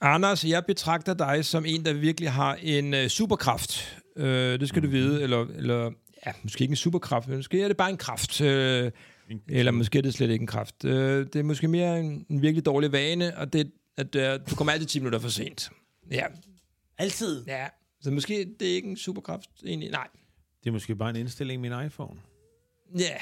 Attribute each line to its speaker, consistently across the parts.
Speaker 1: Anders, jeg betragter dig som en, der virkelig har en øh, superkraft. Øh, det skal du vide. Eller, eller ja, måske ikke en superkraft, men måske er det bare en kraft. Øh, eller måske er det slet ikke en kraft. Øh, det er måske mere en, en virkelig dårlig vane, og det er, at øh, du kommer altid 10 minutter for sent. Ja,
Speaker 2: Altid.
Speaker 1: ja. Så måske det er ikke en superkraft egentlig. Nej.
Speaker 3: Det er måske bare en indstilling i min iPhone.
Speaker 1: Ja,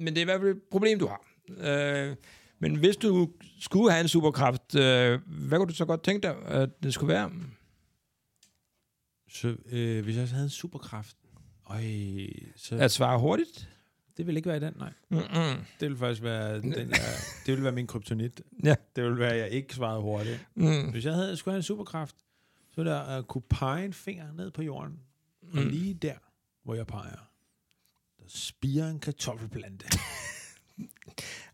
Speaker 1: men det er i hvert fald et problem, du har. Øh, men hvis du skulle have en superkraft, øh, hvad kunne du så godt tænke dig, at det skulle være?
Speaker 3: Så øh, hvis jeg også havde en superkraft, øj, så
Speaker 1: At svare hurtigt?
Speaker 3: det ville ikke være i den, nej.
Speaker 1: Mm-mm.
Speaker 3: Det ville faktisk være, den, jeg, det ville være min kryptonit.
Speaker 1: Ja.
Speaker 3: Det ville være, at jeg ikke svarede hurtigt.
Speaker 1: Mm.
Speaker 3: Hvis jeg havde, skulle have en superkraft, så ville jeg uh, kunne pege en finger ned på jorden, mm. og
Speaker 1: Mm.
Speaker 3: lige der, hvor jeg peger, der spiger en kartoffelplante.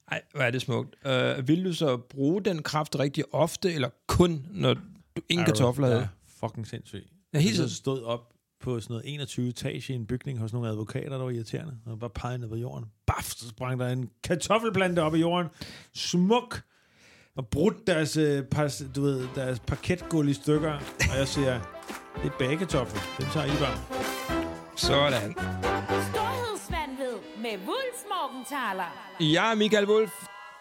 Speaker 1: Ej, hvor er det smukt. Øh, vil du så bruge den kraft rigtig ofte, eller kun, når du ingen kartofler havde?
Speaker 3: Ja, fucking sindssygt.
Speaker 1: Ja, helt
Speaker 3: Jeg så
Speaker 1: sikkert.
Speaker 3: stod op på sådan noget 21 etage i en bygning hos nogle advokater, der var irriterende, og bare pegede ned på jorden. Baf, så sprang der en kartoffelplante op i jorden. Smuk! Og brudt deres, øh, pas, du ved, deres parketgulv i stykker. Og jeg siger, det er bagekartoffel. Dem tager I bare.
Speaker 1: Sådan.
Speaker 4: Storhedsvandved med Wulfs Morgenthaler.
Speaker 1: Jeg er Michael Wolf.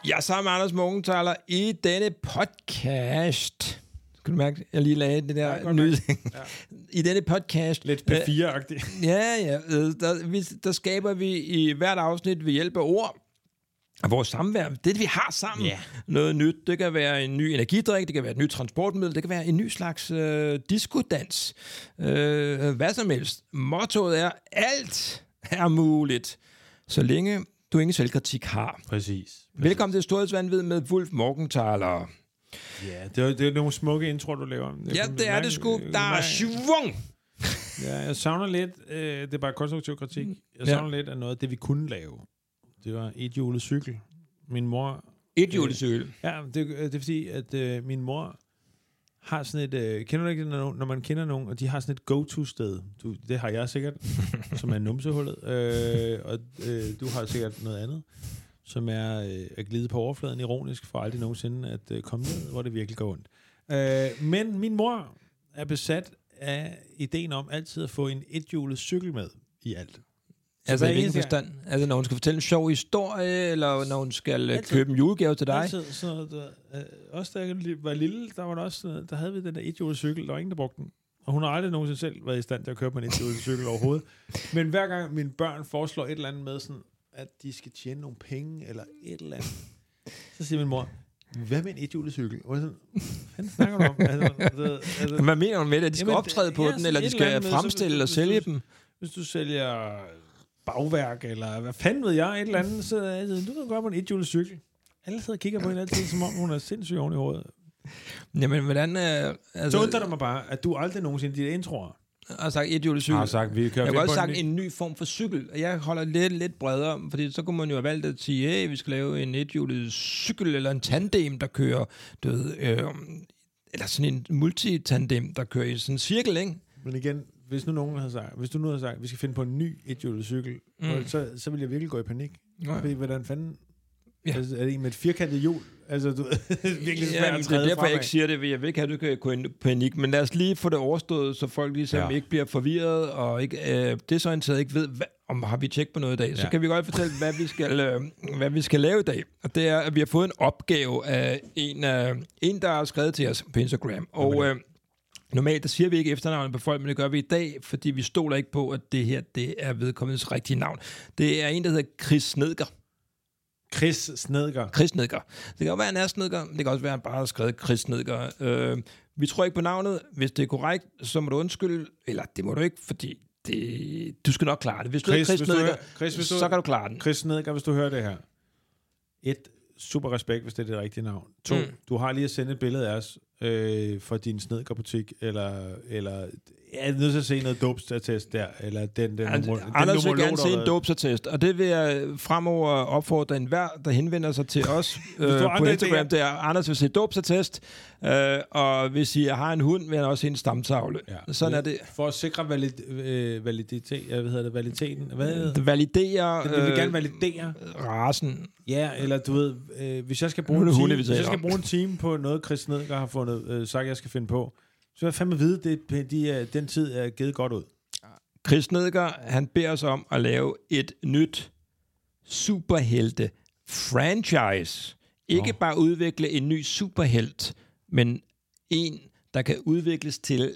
Speaker 1: Jeg er sammen med Anders Morgenthaler i denne podcast. Kan du mærke, at jeg lige lagde det
Speaker 3: jeg kan
Speaker 1: der
Speaker 3: godt
Speaker 1: nye ja. I denne podcast...
Speaker 3: Lidt
Speaker 1: øh,
Speaker 3: P4-agtigt.
Speaker 1: Ja, ja. Øh, Der, vi, der skaber vi i hvert afsnit ved hjælp af ord og vores samvær, det vi har sammen,
Speaker 3: Ja.
Speaker 1: noget nyt. Det kan være en ny energidrik, det kan være et nyt transportmiddel, det kan være en ny slags øh, diskodans. Øh, hvad som helst. Mottoet er, alt er muligt, så længe du ingen selvkritik har.
Speaker 3: Præcis.
Speaker 1: Velkommen til Storhedsvandvid med Wolf Morgenthaler.
Speaker 3: Ja, det er, det er nogle smukke introer, du laver. Jeg
Speaker 1: Ja,
Speaker 3: kan
Speaker 1: det er
Speaker 3: mærke-
Speaker 1: det sgu.
Speaker 3: jeg kan
Speaker 1: Der er
Speaker 3: mærke-
Speaker 1: svung!
Speaker 3: Ja, jeg savner lidt, øh, det er bare konstruktiv kritik, jeg
Speaker 1: Ja.
Speaker 3: savner lidt af noget af det, vi kunne lave. Det var et hjulet cykel. Min mor,
Speaker 1: Et julecykel.
Speaker 3: ja, det, øh, det er fordi, at øh, min mor har sådan et, øh, kender du ikke det, når, når man kender nogen, og de har sådan et go-to-sted, du, det har jeg sikkert, som er numsehullet, øh, og øh, du har sikkert noget andet, som er øh, at glide på overfladen ironisk, for aldrig nogensinde at øh, komme ned, hvor det virkelig går ondt. Øh, men min mor er besat af ideen om altid at få en ethjulet cykel med i alt.
Speaker 1: Altså i
Speaker 3: hver
Speaker 1: hvilken
Speaker 3: eneste gang-
Speaker 1: forstand? Altså når hun skal fortælle en sjov historie, eller når hun skal øh,
Speaker 3: Altid.
Speaker 1: købe en julegave til dig?
Speaker 3: Altid, så der, øh, også da jeg li- var lille, der var der også, sådan- der havde vi den der ethjulet cykel, der var ingen, der brugte den. Og hun har aldrig nogensinde selv været i stand til at købe en ethjulet cykel overhovedet. Men hver gang mine børn foreslår et eller andet med, sådan, at de skal tjene nogle penge, eller et eller andet, så siger min mor, hvad med en ethjulet cykel? Og jeg er sådan, hvad fanden snakker du om? Altså, altså, altså,
Speaker 1: Hvad mener hun med det? At de skal
Speaker 3: Jamen,
Speaker 1: optræde på
Speaker 3: ja,
Speaker 1: den,
Speaker 3: sådan
Speaker 1: eller
Speaker 3: et
Speaker 1: de
Speaker 3: eller
Speaker 1: skal
Speaker 3: andet med,
Speaker 1: fremstille
Speaker 3: så-
Speaker 1: og
Speaker 3: så-
Speaker 1: sælge
Speaker 3: så-
Speaker 1: dem?
Speaker 3: hvis du sælger bagværk, eller hvad fanden ved jeg, et eller andet, så er det, du kan godt på en ethjulet cykel. Alle sidder og kigger på hende altid, som om hun er sindssygt oven i hovedet.
Speaker 1: Jamen, hvordan... Øh, altså,
Speaker 3: Så undrer det mig bare, at du aldrig nogensinde i dine introer
Speaker 1: har sagt et julecykel.
Speaker 3: vi kører
Speaker 1: jeg har også sagt en ny form for cykel. og Jeg holder lidt, lidt bredere, fordi så kunne man jo have valgt at sige, hey, vi skal lave en ethjulet cykel, eller en tandem, der kører, du ved, øh, eller sådan en multitandem, der kører i sådan en cirkel, ikke?
Speaker 3: Men igen, hvis nu nogen havde sagt, hvis du nu havde sagt, vi skal finde på en ny ethjulet cykel,
Speaker 1: Mm.
Speaker 3: mm. så, så ville jeg virkelig gå i panik.
Speaker 1: Ja.
Speaker 3: Fordi hvordan fanden...
Speaker 1: Ja.
Speaker 3: Ja. Altså, er det en med et firkantet hjul? Altså, du virkelig
Speaker 1: men
Speaker 3: svært at
Speaker 1: det er
Speaker 3: træde
Speaker 1: derfor,
Speaker 3: fremad.
Speaker 1: jeg ikke siger det, for jeg vil ikke have, at du kan gå ind i panik. Men lad os lige få det overstået, så folk ligesom ja.
Speaker 3: Ja.
Speaker 1: ikke bliver forvirret og ikke, øh, desorienteret ikke ved, hvad, om har vi tjek på noget i dag. Så
Speaker 3: Ja.
Speaker 1: kan vi godt fortælle, hvad vi, skal, øh, hvad vi skal lave i dag. Og det er, at vi har fået en opgave af en, øh, en der har skrevet til os på Instagram. Og øh, normalt, der siger vi ikke efternavnet på folk, men det gør vi i dag, fordi vi stoler ikke på, at det her det er vedkommendes rigtige navn. Det er en, der hedder Chris Snedker.
Speaker 3: Chris Snedger.
Speaker 1: Chris Nedger. Det kan også være, han er Snedger, men det kan også være, han bare har skrevet Chris Nedger. Øh, vi tror ikke på navnet. Hvis det er korrekt, så må du undskylde. Eller det må du ikke, fordi det, du skal nok klare det. Hvis du Chris,
Speaker 3: Chris,
Speaker 1: er Chris
Speaker 3: hvis du
Speaker 1: Nedger,
Speaker 3: hører- Chris, hvis du-
Speaker 1: så kan du klare den.
Speaker 3: Chris Snedger, hvis du hører det her. Et, super respekt, hvis det er det rigtige navn. To,
Speaker 1: Mm.
Speaker 3: mm. du har lige at sende et billede af os øh, fra din Snedger-butik, eller, eller jeg er nødt til at se noget dopstattest der, eller den, den,
Speaker 1: Anders
Speaker 3: nummer,
Speaker 1: Altså, Anders
Speaker 3: den
Speaker 1: vil gerne se en
Speaker 3: dop.
Speaker 1: dopsertest, og det vil jeg fremover opfordre enhver, der henvender sig til os øh,
Speaker 3: har
Speaker 1: på
Speaker 3: andre
Speaker 1: Instagram.
Speaker 3: idéer.
Speaker 1: Det er, Anders vil se dopsertest, øh, og hvis I har en hund, vil han også se en stamtavle. Ja. Sådan er det.
Speaker 3: For at sikre valid, øh, validitet, ja, hvad hedder det, validiteten, hvad hedder det?
Speaker 1: Det validerer
Speaker 3: Vi vil gerne
Speaker 1: øh,
Speaker 3: validere.
Speaker 1: rasen.
Speaker 3: Ja, eller du ved, øh, hvis jeg skal bruge
Speaker 1: Hunde-
Speaker 3: en time,
Speaker 1: hunde, vi
Speaker 3: hvis jeg
Speaker 1: taler om.
Speaker 3: skal bruge en time på noget, Chris Nedgaard har fundet måned øh, sagt, jeg skal finde på, så vil jeg fandme vide, det, de, er, den tid er givet godt ud.
Speaker 1: Chris Nedgaard, han beder os om at lave et nyt superhelte-franchise. Ikke oh. bare udvikle en ny superhelt, men en, der kan udvikles til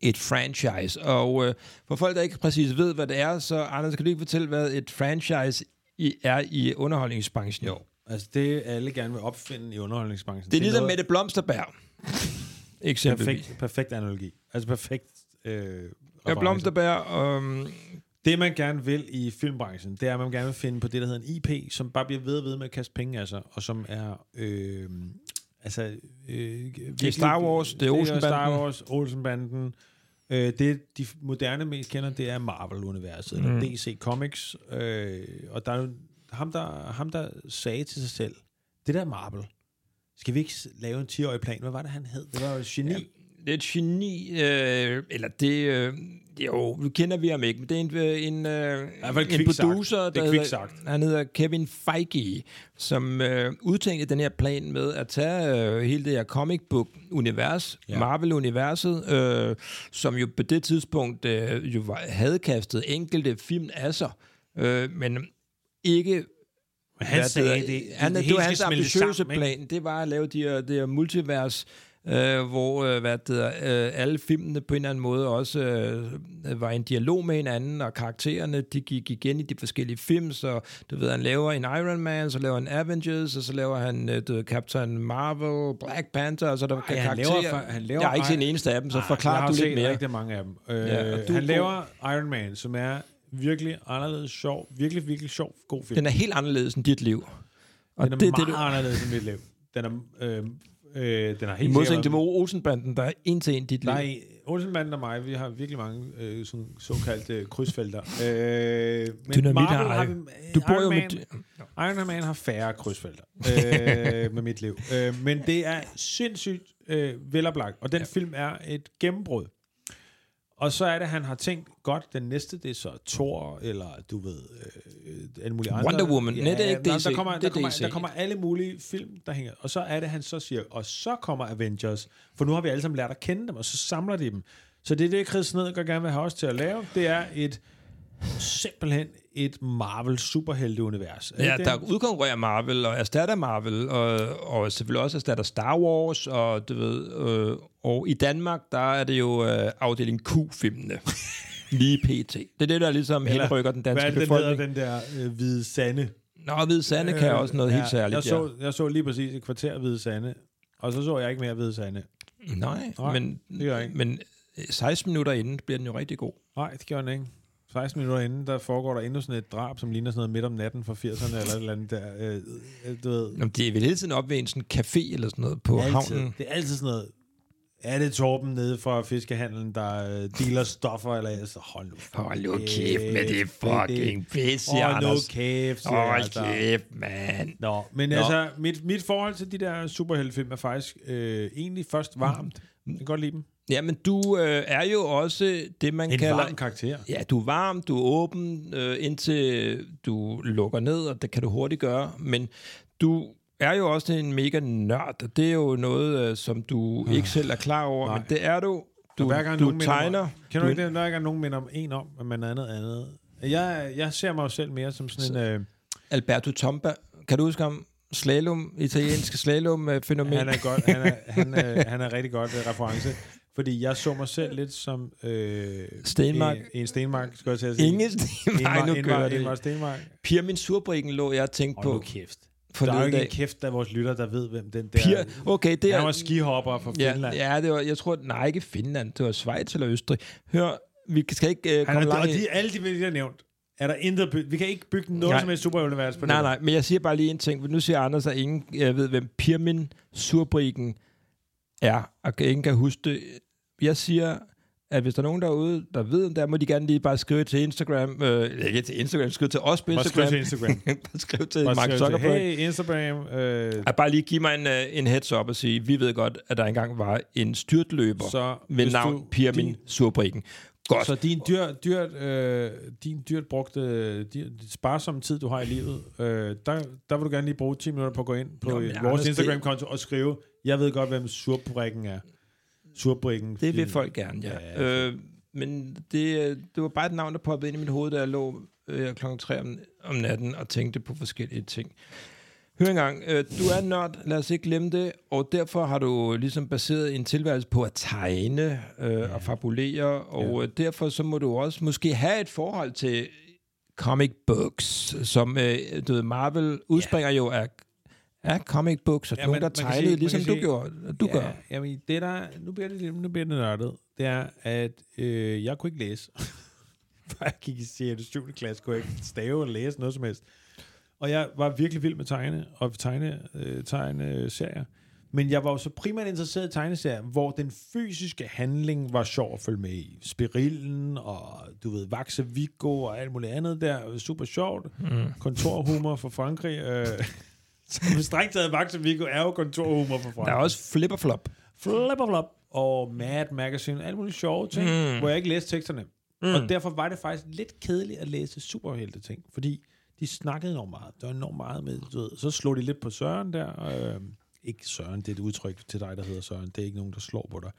Speaker 1: et franchise. Og øh, for folk, der ikke præcis ved, hvad det er, så Anders, kan du ikke fortælle, hvad et franchise i, er i underholdningsbranchen i år?
Speaker 3: Altså det, alle gerne vil opfinde i underholdningsbranchen.
Speaker 1: Det er ligesom
Speaker 3: noget-
Speaker 1: Mette Blomsterberg. Eksempelvis.
Speaker 3: perfekt, perfekt analogi. Altså perfekt øh,
Speaker 1: Ja,
Speaker 3: reference.
Speaker 1: Blomsterberg, øhm,
Speaker 3: Det, man gerne vil i filmbranchen, det er, at man gerne vil finde på det, der hedder en IP, som bare bliver ved og ved med at kaste penge af sig, og som er... Øh, altså, øh, virkelig-
Speaker 1: Star Wars, det er Olsenbanden.
Speaker 3: Star Wars, Olsenbanden. Øh, det, de moderne mest kender, det er Marvel-universet, mm. DC Comics. Øh, og der er jo ham der, ham, der sagde til sig selv, det der er Marvel. Skal vi ikke s- lave en 10-årig plan? Hvad var det, han hed? Det var jo et geni. Ja.
Speaker 1: det er et geni, øh, eller det... Øh, jo, nu kender vi ham ikke, men det er en, øh, en, øh,
Speaker 3: hvert fald
Speaker 1: en
Speaker 3: kvikt sagt.
Speaker 1: producer,
Speaker 3: Det er
Speaker 1: der
Speaker 3: kvikt
Speaker 1: hedder,
Speaker 3: sagt.
Speaker 1: han hedder Kevin Feige, som øh, udtænkte den her plan med at tage øh, hele det her comic book-univers, ja.
Speaker 3: Ja.
Speaker 1: Marvel-universet, øh, som jo på det tidspunkt øh, jo var, havde kastet enkelte film af sig, øh, men ikke
Speaker 3: Men han
Speaker 1: hvad
Speaker 3: sagde,
Speaker 1: hedder-
Speaker 3: det, det,
Speaker 1: han, det,
Speaker 3: hele
Speaker 1: var
Speaker 3: skal
Speaker 1: hans
Speaker 3: smelte
Speaker 1: ambitiøse
Speaker 3: sammen, ikke?
Speaker 1: plan, det var at lave de her, det her multivers, øh, hvor øh, hvad det hedder, øh, alle filmene på en eller anden måde også øh, var i en dialog med hinanden, og karaktererne de gik igen i de forskellige film, så du ved, han laver en Iron Man, så laver han Avengers, og så laver han øh, du ved, Captain Marvel, Black Panther, og så der Ej,
Speaker 3: han laver for- han laver
Speaker 1: Jeg har ikke set en
Speaker 3: bare-
Speaker 1: eneste af dem, så
Speaker 3: Ah, jeg
Speaker 1: forklar
Speaker 3: har
Speaker 1: du
Speaker 3: set
Speaker 1: lidt mere.
Speaker 3: rigtig mange af dem. Øh,
Speaker 1: Ja, og du
Speaker 3: ja,
Speaker 1: er god.
Speaker 3: han laver Iron Man, som er virkelig anderledes sjov, virkelig, virkelig sjov, god film.
Speaker 1: Den er helt anderledes end dit liv. Og
Speaker 3: den er
Speaker 1: det,
Speaker 3: meget
Speaker 1: det, du,
Speaker 3: anderledes end mit liv. Den er, øh, øh, den er
Speaker 1: i
Speaker 3: helt
Speaker 1: modsætning til
Speaker 3: sikkert-
Speaker 1: Olsenbanden, der er en til en dit liv.
Speaker 3: Der er en- Olsenbanden og mig, vi har virkelig mange øh, sådan, såkaldte øh, krydsfelter. Øh, men
Speaker 1: Dynamit
Speaker 3: Marvel
Speaker 1: har-
Speaker 3: har vi, øh,
Speaker 1: Du bor
Speaker 3: Iron
Speaker 1: jo
Speaker 3: Man,
Speaker 1: med...
Speaker 3: Iron Man har færre krydsfelter øh, med mit liv. Øh, men det er sindssygt øh, veloplagt, og den ja. film er et gennembrud. Og så er det, han har tænkt, godt, den næste, det er så Thor, eller du ved, øh, alle mulige andre.
Speaker 1: Wonder Woman. Nej, det er ikke
Speaker 3: nå,
Speaker 1: DC.
Speaker 3: Der kommer,
Speaker 1: Det
Speaker 3: der,
Speaker 1: er
Speaker 3: kommer,
Speaker 1: DC.
Speaker 3: der kommer alle mulige film, der hænger. Og så er det, han så siger, og så kommer Avengers, for nu har vi alle sammen lært at kende dem, og så samler de dem. Så det er det, Chris Nedgaard gerne vil have os til at lave. Det er et simpelthen et Marvel superhelteunivers. Er
Speaker 1: Ja,
Speaker 3: det det?
Speaker 1: der udkonkurrerer Marvel og erstatter Marvel, og, og selvfølgelig også erstatter Star Wars, og du ved, øh, og i Danmark, der er det jo øh, afdeling Q-filmene. Lige pt. Det er det, der ligesom Eller, henrykker den danske
Speaker 3: Hvad er det,
Speaker 1: befolkning.
Speaker 3: den hedder, den der øh, hvide sande? Øh,
Speaker 1: Nå, Hvide Sande kan også noget helt særligt.
Speaker 3: Jeg så, jeg så lige præcis et kvarter hvide sande, og så så jeg ikke mere hvide sande.
Speaker 1: ja. Nej,
Speaker 3: Nej,
Speaker 1: men,
Speaker 3: det gør jeg ikke.
Speaker 1: men øh, 16 minutter inden bliver den jo rigtig god.
Speaker 3: Nej, det gjorde den ikke. 16 minutter inden, der foregår der endnu sådan et drab, som ligner sådan noget midt om natten fra 80'erne, eller et eller andet der, øh, øh, du ved.
Speaker 1: Jamen, det er vel hele tiden op ved en sådan café eller sådan noget på
Speaker 3: Det er altid-
Speaker 1: havnen.
Speaker 3: Det er altid sådan noget, er det Torben nede fra fiskehandlen, der øh, dealer stoffer, eller altså, hold nu.
Speaker 1: Hold nu kæft med det fucking pisse,
Speaker 3: Hold nu
Speaker 1: Anders.
Speaker 3: kæft, siger jeg
Speaker 1: Hold
Speaker 3: altså.
Speaker 1: kæft, mand.
Speaker 3: Nå, men Nå. altså, mit, mit forhold til de der superheltefilm er faktisk øh, egentlig først varmt. Jeg kan godt lide dem.
Speaker 1: Jamen, du øh, er jo også det, man
Speaker 3: En
Speaker 1: kalder...
Speaker 3: varm karakter.
Speaker 1: Ja, du er varm, du er åben, øh, indtil du lukker ned, og det kan du hurtigt gøre. Men du er jo også en mega nørd, og det er jo noget, øh, som du ikke selv er klar over, men det er du.
Speaker 3: Ah, Og
Speaker 1: Du,
Speaker 3: hver gang nogen
Speaker 1: du
Speaker 3: minder
Speaker 1: tegner.
Speaker 3: Mig, kan du, ikke det, hver gang nogen minder om en om, at man er noget andet? Jeg, jeg ser mig jo selv mere som sådan en... Øh,
Speaker 1: Alberto Tomba. Kan du huske ham? Slalom, italienske slalom-fænomen.
Speaker 3: han, er godt, han, er, han, er, han er rigtig godt øh, reference. Fordi jeg så mig selv lidt som... Øh,
Speaker 1: Stenmark.
Speaker 3: En, en Stenmark, skal jeg til at sige.
Speaker 1: Ingen Nej, nu
Speaker 3: Ingmar,
Speaker 1: gør
Speaker 3: Ingmar
Speaker 1: det.
Speaker 3: Stenmark.
Speaker 1: Pirmin Surbrikken lå jeg og tænkte
Speaker 3: Hold nu
Speaker 1: på
Speaker 3: kæft. Der er jo
Speaker 1: forleden
Speaker 3: ikke en
Speaker 1: dag.
Speaker 3: kæft af vores lytter, der ved, hvem den der...
Speaker 1: Pir, okay, det er
Speaker 3: Han var skihopper fra
Speaker 1: Ja,
Speaker 3: Finland.
Speaker 1: ja det var, jeg tror, nej, ikke Finland, det var Schweiz eller Østrig. Hør, vi skal ikke øh,
Speaker 3: Han
Speaker 1: komme
Speaker 3: er, og
Speaker 1: langt
Speaker 3: de, alle de, vi lige har nævnt, er der intet by- Vi kan ikke bygge noget
Speaker 1: Nej.
Speaker 3: som helst superunivers på
Speaker 1: Nej,
Speaker 3: det.
Speaker 1: nej, men jeg siger bare lige en ting. for Nu siger Anders, at ingen jeg ved, hvem Pirmin Surbriken er, og ingen kan huske det. Jeg siger, at hvis der er nogen derude, der ved, om der må de gerne lige bare skrive til Instagram. Øh, eller ikke til Instagram, skrive til os på
Speaker 3: Bare skriv
Speaker 1: Instagram.
Speaker 3: til Instagram.
Speaker 1: bare skriv til
Speaker 3: Og
Speaker 1: Mark
Speaker 3: skrive til,
Speaker 1: Zuckerberg. Hey.
Speaker 3: Hey, Instagram. Øh,
Speaker 1: At bare lige give mig en, øh, en heads up og sige, vi ved godt, at der engang var en styrtløber
Speaker 3: så
Speaker 1: ved
Speaker 3: hvis
Speaker 1: navn
Speaker 3: du-
Speaker 1: Pirmin
Speaker 3: din-
Speaker 1: Surbriken. Godt.
Speaker 3: Så din dyrt, dyrt, øh, din dyrt brugte, øh, din sparsomme tid, du har i livet, øh, der, der vil du gerne lige bruge 10 minutter på at gå ind på
Speaker 1: Nå,
Speaker 3: Nå,
Speaker 1: men
Speaker 3: vores
Speaker 1: Anders, det-
Speaker 3: Instagram-konto og skrive, jeg ved godt, hvem surbrikken er. Surbrikken.
Speaker 1: Det vil folk gerne, ja.
Speaker 3: Ja,
Speaker 1: ja øh, men det, øh, det var bare et navn, der poppede ind i mit hoved, da jeg lå øh, klokken 3 om, om natten og tænkte på forskellige ting. Hør engang, øh, du er nørd, lad os ikke glemme det, og derfor har du ligesom baseret en tilværelse på at tegne øh, ja. og fabulere, og øh, derfor så må du også måske have et forhold til comic books, som øh, du ved, Marvel udspringer ja. jo af, af comic books, og ja,
Speaker 3: Ja,
Speaker 1: nogen,
Speaker 3: man-
Speaker 1: der
Speaker 3: man kan
Speaker 1: tegnede,
Speaker 3: sige- man
Speaker 1: ligesom
Speaker 3: kan
Speaker 1: du,
Speaker 3: sige-
Speaker 1: gjorde, du ja. gør.
Speaker 3: Jamen, det der, nu bliver det, nu bliver det nørdet, det er, at øh, jeg kunne ikke læse. Før jeg gik i 6. 7. klasse, kunne jeg ikke stave eller læse noget som helst. Og jeg var virkelig vild med tegne og tegne, øh, tegne serier. Men jeg var jo så primært interesseret i tegneserier, hvor den fysiske handling var sjov at følge med i. Spirillen og, du ved, Vaxe Vigo og alt muligt andet der. Super sjovt. Mm. Kontorhumor fra Frankrig. Øh, som strengt taget Vaxe Vigo er jo kontorhumor fra Frankrig.
Speaker 1: Der er også flip og flop.
Speaker 3: Flip og flop og Mad Magazine, alle mulige sjove ting, mm. hvor jeg ikke læste teksterne. Mm. Og derfor var det faktisk lidt kedeligt at læse superhelte ting, fordi de snakkede enormt meget. Der var enormt meget med, du ved. Så slog de lidt på Søren der. Og, øh, ikke Søren, det er et udtryk til dig, der hedder Søren. Det er ikke nogen, der slår på dig.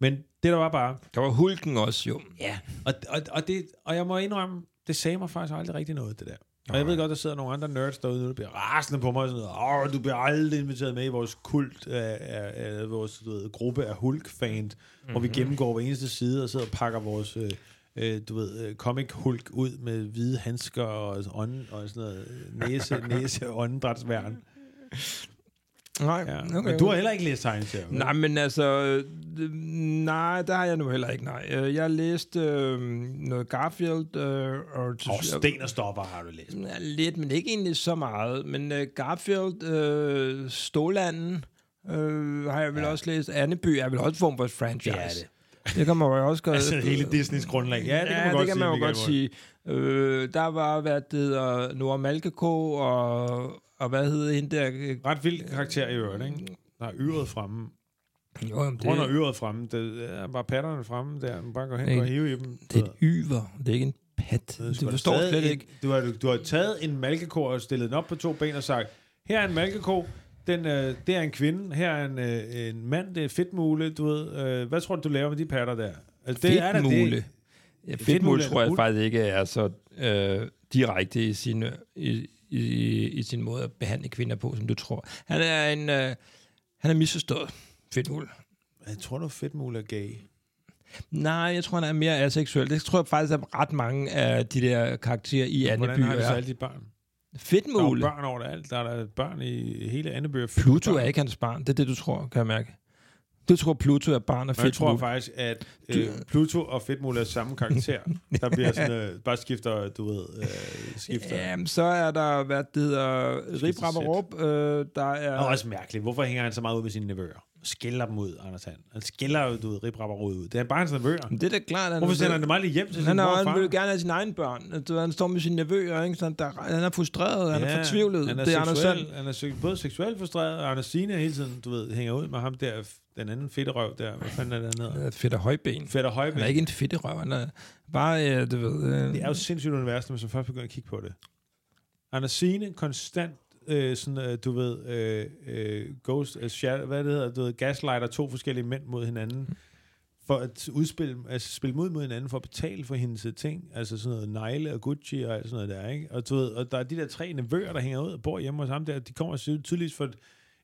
Speaker 3: Men det der var bare...
Speaker 1: Der var Hulken også, jo.
Speaker 3: Ja. Og, og, og, det, og jeg må indrømme, det sagde mig faktisk aldrig rigtig noget, det der. Og jeg ved godt, der sidder nogle andre nerds derude, nu, der bliver rasende på mig, og sådan noget, Åh, du bliver aldrig inviteret med i vores kult, af, af, af vores du ved, gruppe af Hulk-fan, mm-hmm. hvor vi
Speaker 1: Mhm.
Speaker 3: gennemgår hver eneste side, og sidder og pakker vores, øh, øh, du ved, øh, comic-Hulk ud med hvide handsker og, ånd, og sådan noget, øh, næse, næse og åndedrætsværn.
Speaker 1: Nej,
Speaker 3: Ja.
Speaker 1: okay.
Speaker 3: Okay, Men du har heller ikke læst tegneserier. vel?
Speaker 1: Nej, men altså... øh, Nej, der har jeg nu heller ikke, nej. Øh, Jeg læste øh, noget Garfield... Øh, og,
Speaker 3: Og sten og stopper har du læst.
Speaker 1: Ja, Lidt, men ikke egentlig så meget. Men øh, Garfield, øh, Stålanden øh, har jeg vel ja. også læst. Anneby er vel også en form for et franchise.
Speaker 3: Det er det.
Speaker 1: Det kan man jo også godt...
Speaker 3: Altså hele Disneys grundlag. Ja, det kan man,
Speaker 1: ja,
Speaker 3: godt,
Speaker 1: det kan
Speaker 3: sige,
Speaker 1: man jo
Speaker 3: Michael
Speaker 1: godt
Speaker 3: Moore.
Speaker 1: sige. Øh, der var, hvad det hedder, Nora Malkeko, og, og hvad hed hende der? Øh,
Speaker 3: Ret vild karakter i øvrigt, ikke? Der er yret fremme.
Speaker 1: Jo, jamen,
Speaker 3: Rundt og yret fremme. Det er bare patterne fremme der. Man bare går hen
Speaker 1: Ikke?
Speaker 3: og hive i dem.
Speaker 1: Det er et yver, det er ikke en pat.
Speaker 3: er
Speaker 1: Det
Speaker 3: sgu da
Speaker 1: forstår jeg
Speaker 3: stadig
Speaker 1: slet
Speaker 3: en-
Speaker 1: ikke.
Speaker 3: Du har, du har taget en malkeko og stillet den op på to ben og sagt, her er en malkeko, den, øh, det er en kvinde, her er en, øh, en mand, det er fedtmule, du ved. Øh, hvad tror du, du laver med de patter der? Altså, er da
Speaker 1: Fedtmule. Ja, fedtmule
Speaker 3: er
Speaker 1: tror jeg
Speaker 3: hul.
Speaker 1: faktisk ikke er så øh, direkte i sin, øh, i, i, i sin måde at behandle kvinder på, som du tror. Han er en... Øh, han er misforstået. Fedtmule.
Speaker 3: Jeg tror du, fedtmule er gay?
Speaker 1: Nej, jeg tror, han er mere aseksuel. Det tror jeg faktisk, at ret mange af de der karakterer i
Speaker 3: Hvordan
Speaker 1: Anneby
Speaker 3: har det så
Speaker 1: er.
Speaker 3: alle de børn? Der er jo
Speaker 1: Fedtmule.
Speaker 3: børn over det alt. Der er der børn i hele Anneby. er fyldt med
Speaker 1: Pluto
Speaker 3: børn.
Speaker 1: er ikke hans barn. Det er det, du tror, kan jeg mærke. Du tror, Pluto er barn af
Speaker 3: Og jeg tror
Speaker 1: Fedtmule.
Speaker 3: faktisk, at øh, Pluto og Fedtmule er samme karakter. Der bliver sådan, øh, bare skifter, du ved, øh, skifter. Yeah.
Speaker 1: Jamen, så er der, hvad det hedder, Rip Rap og
Speaker 3: sæt.
Speaker 1: Rup, øh, der er...
Speaker 3: Og også mærkeligt. Hvorfor hænger han så meget ud med sine nevøer? Skiller dem ud, Anders Han. Han skiller jo, du ved, Rip Rapper ud. Det er bare hans nevøer.
Speaker 1: Men Det er da klart, han...
Speaker 3: Hvorfor sender han dem aldrig hjem til sin
Speaker 1: han,
Speaker 3: mor
Speaker 1: er,
Speaker 3: og
Speaker 1: han
Speaker 3: far?
Speaker 1: vil gerne have sine egne børn. Du ved, Han står med sine nevøer, ikke? Så han, der, han er frustreret, han er
Speaker 3: Ja,
Speaker 1: fortvivlet.
Speaker 3: Han er,
Speaker 1: det er Anders
Speaker 3: seksuel,
Speaker 1: Sand.
Speaker 3: han er se- både seksuelt frustreret, og Anders Signe hele tiden, du ved, hænger ud med ham der, f- den anden fedte røv der. Hvad fanden er det, han hedder?
Speaker 1: Han er Fedt og højben.
Speaker 3: Fedter Højbæk.
Speaker 1: Han er ikke en fedt røv, han er bare, øh, du ved... Øh,
Speaker 3: Det er jo et sindssygt univers, når man så først begynder at kigge på det. Anders Signe, konstant, øh, sådan, øh, du ved, øh, øh, ghost, øh, shadow, hvad det hedder, du ved, gaslighter to forskellige mænd mod hinanden, for at udspille, altså spille mod mod hinanden, for at betale for hendes øh, ting, altså sådan noget negle og Gucci og alt sådan noget der, ikke? Og, du ved, og der er de der tre nevøer, der hænger ud og bor hjemme hos ham der, de kommer sy- tydeligvis for et,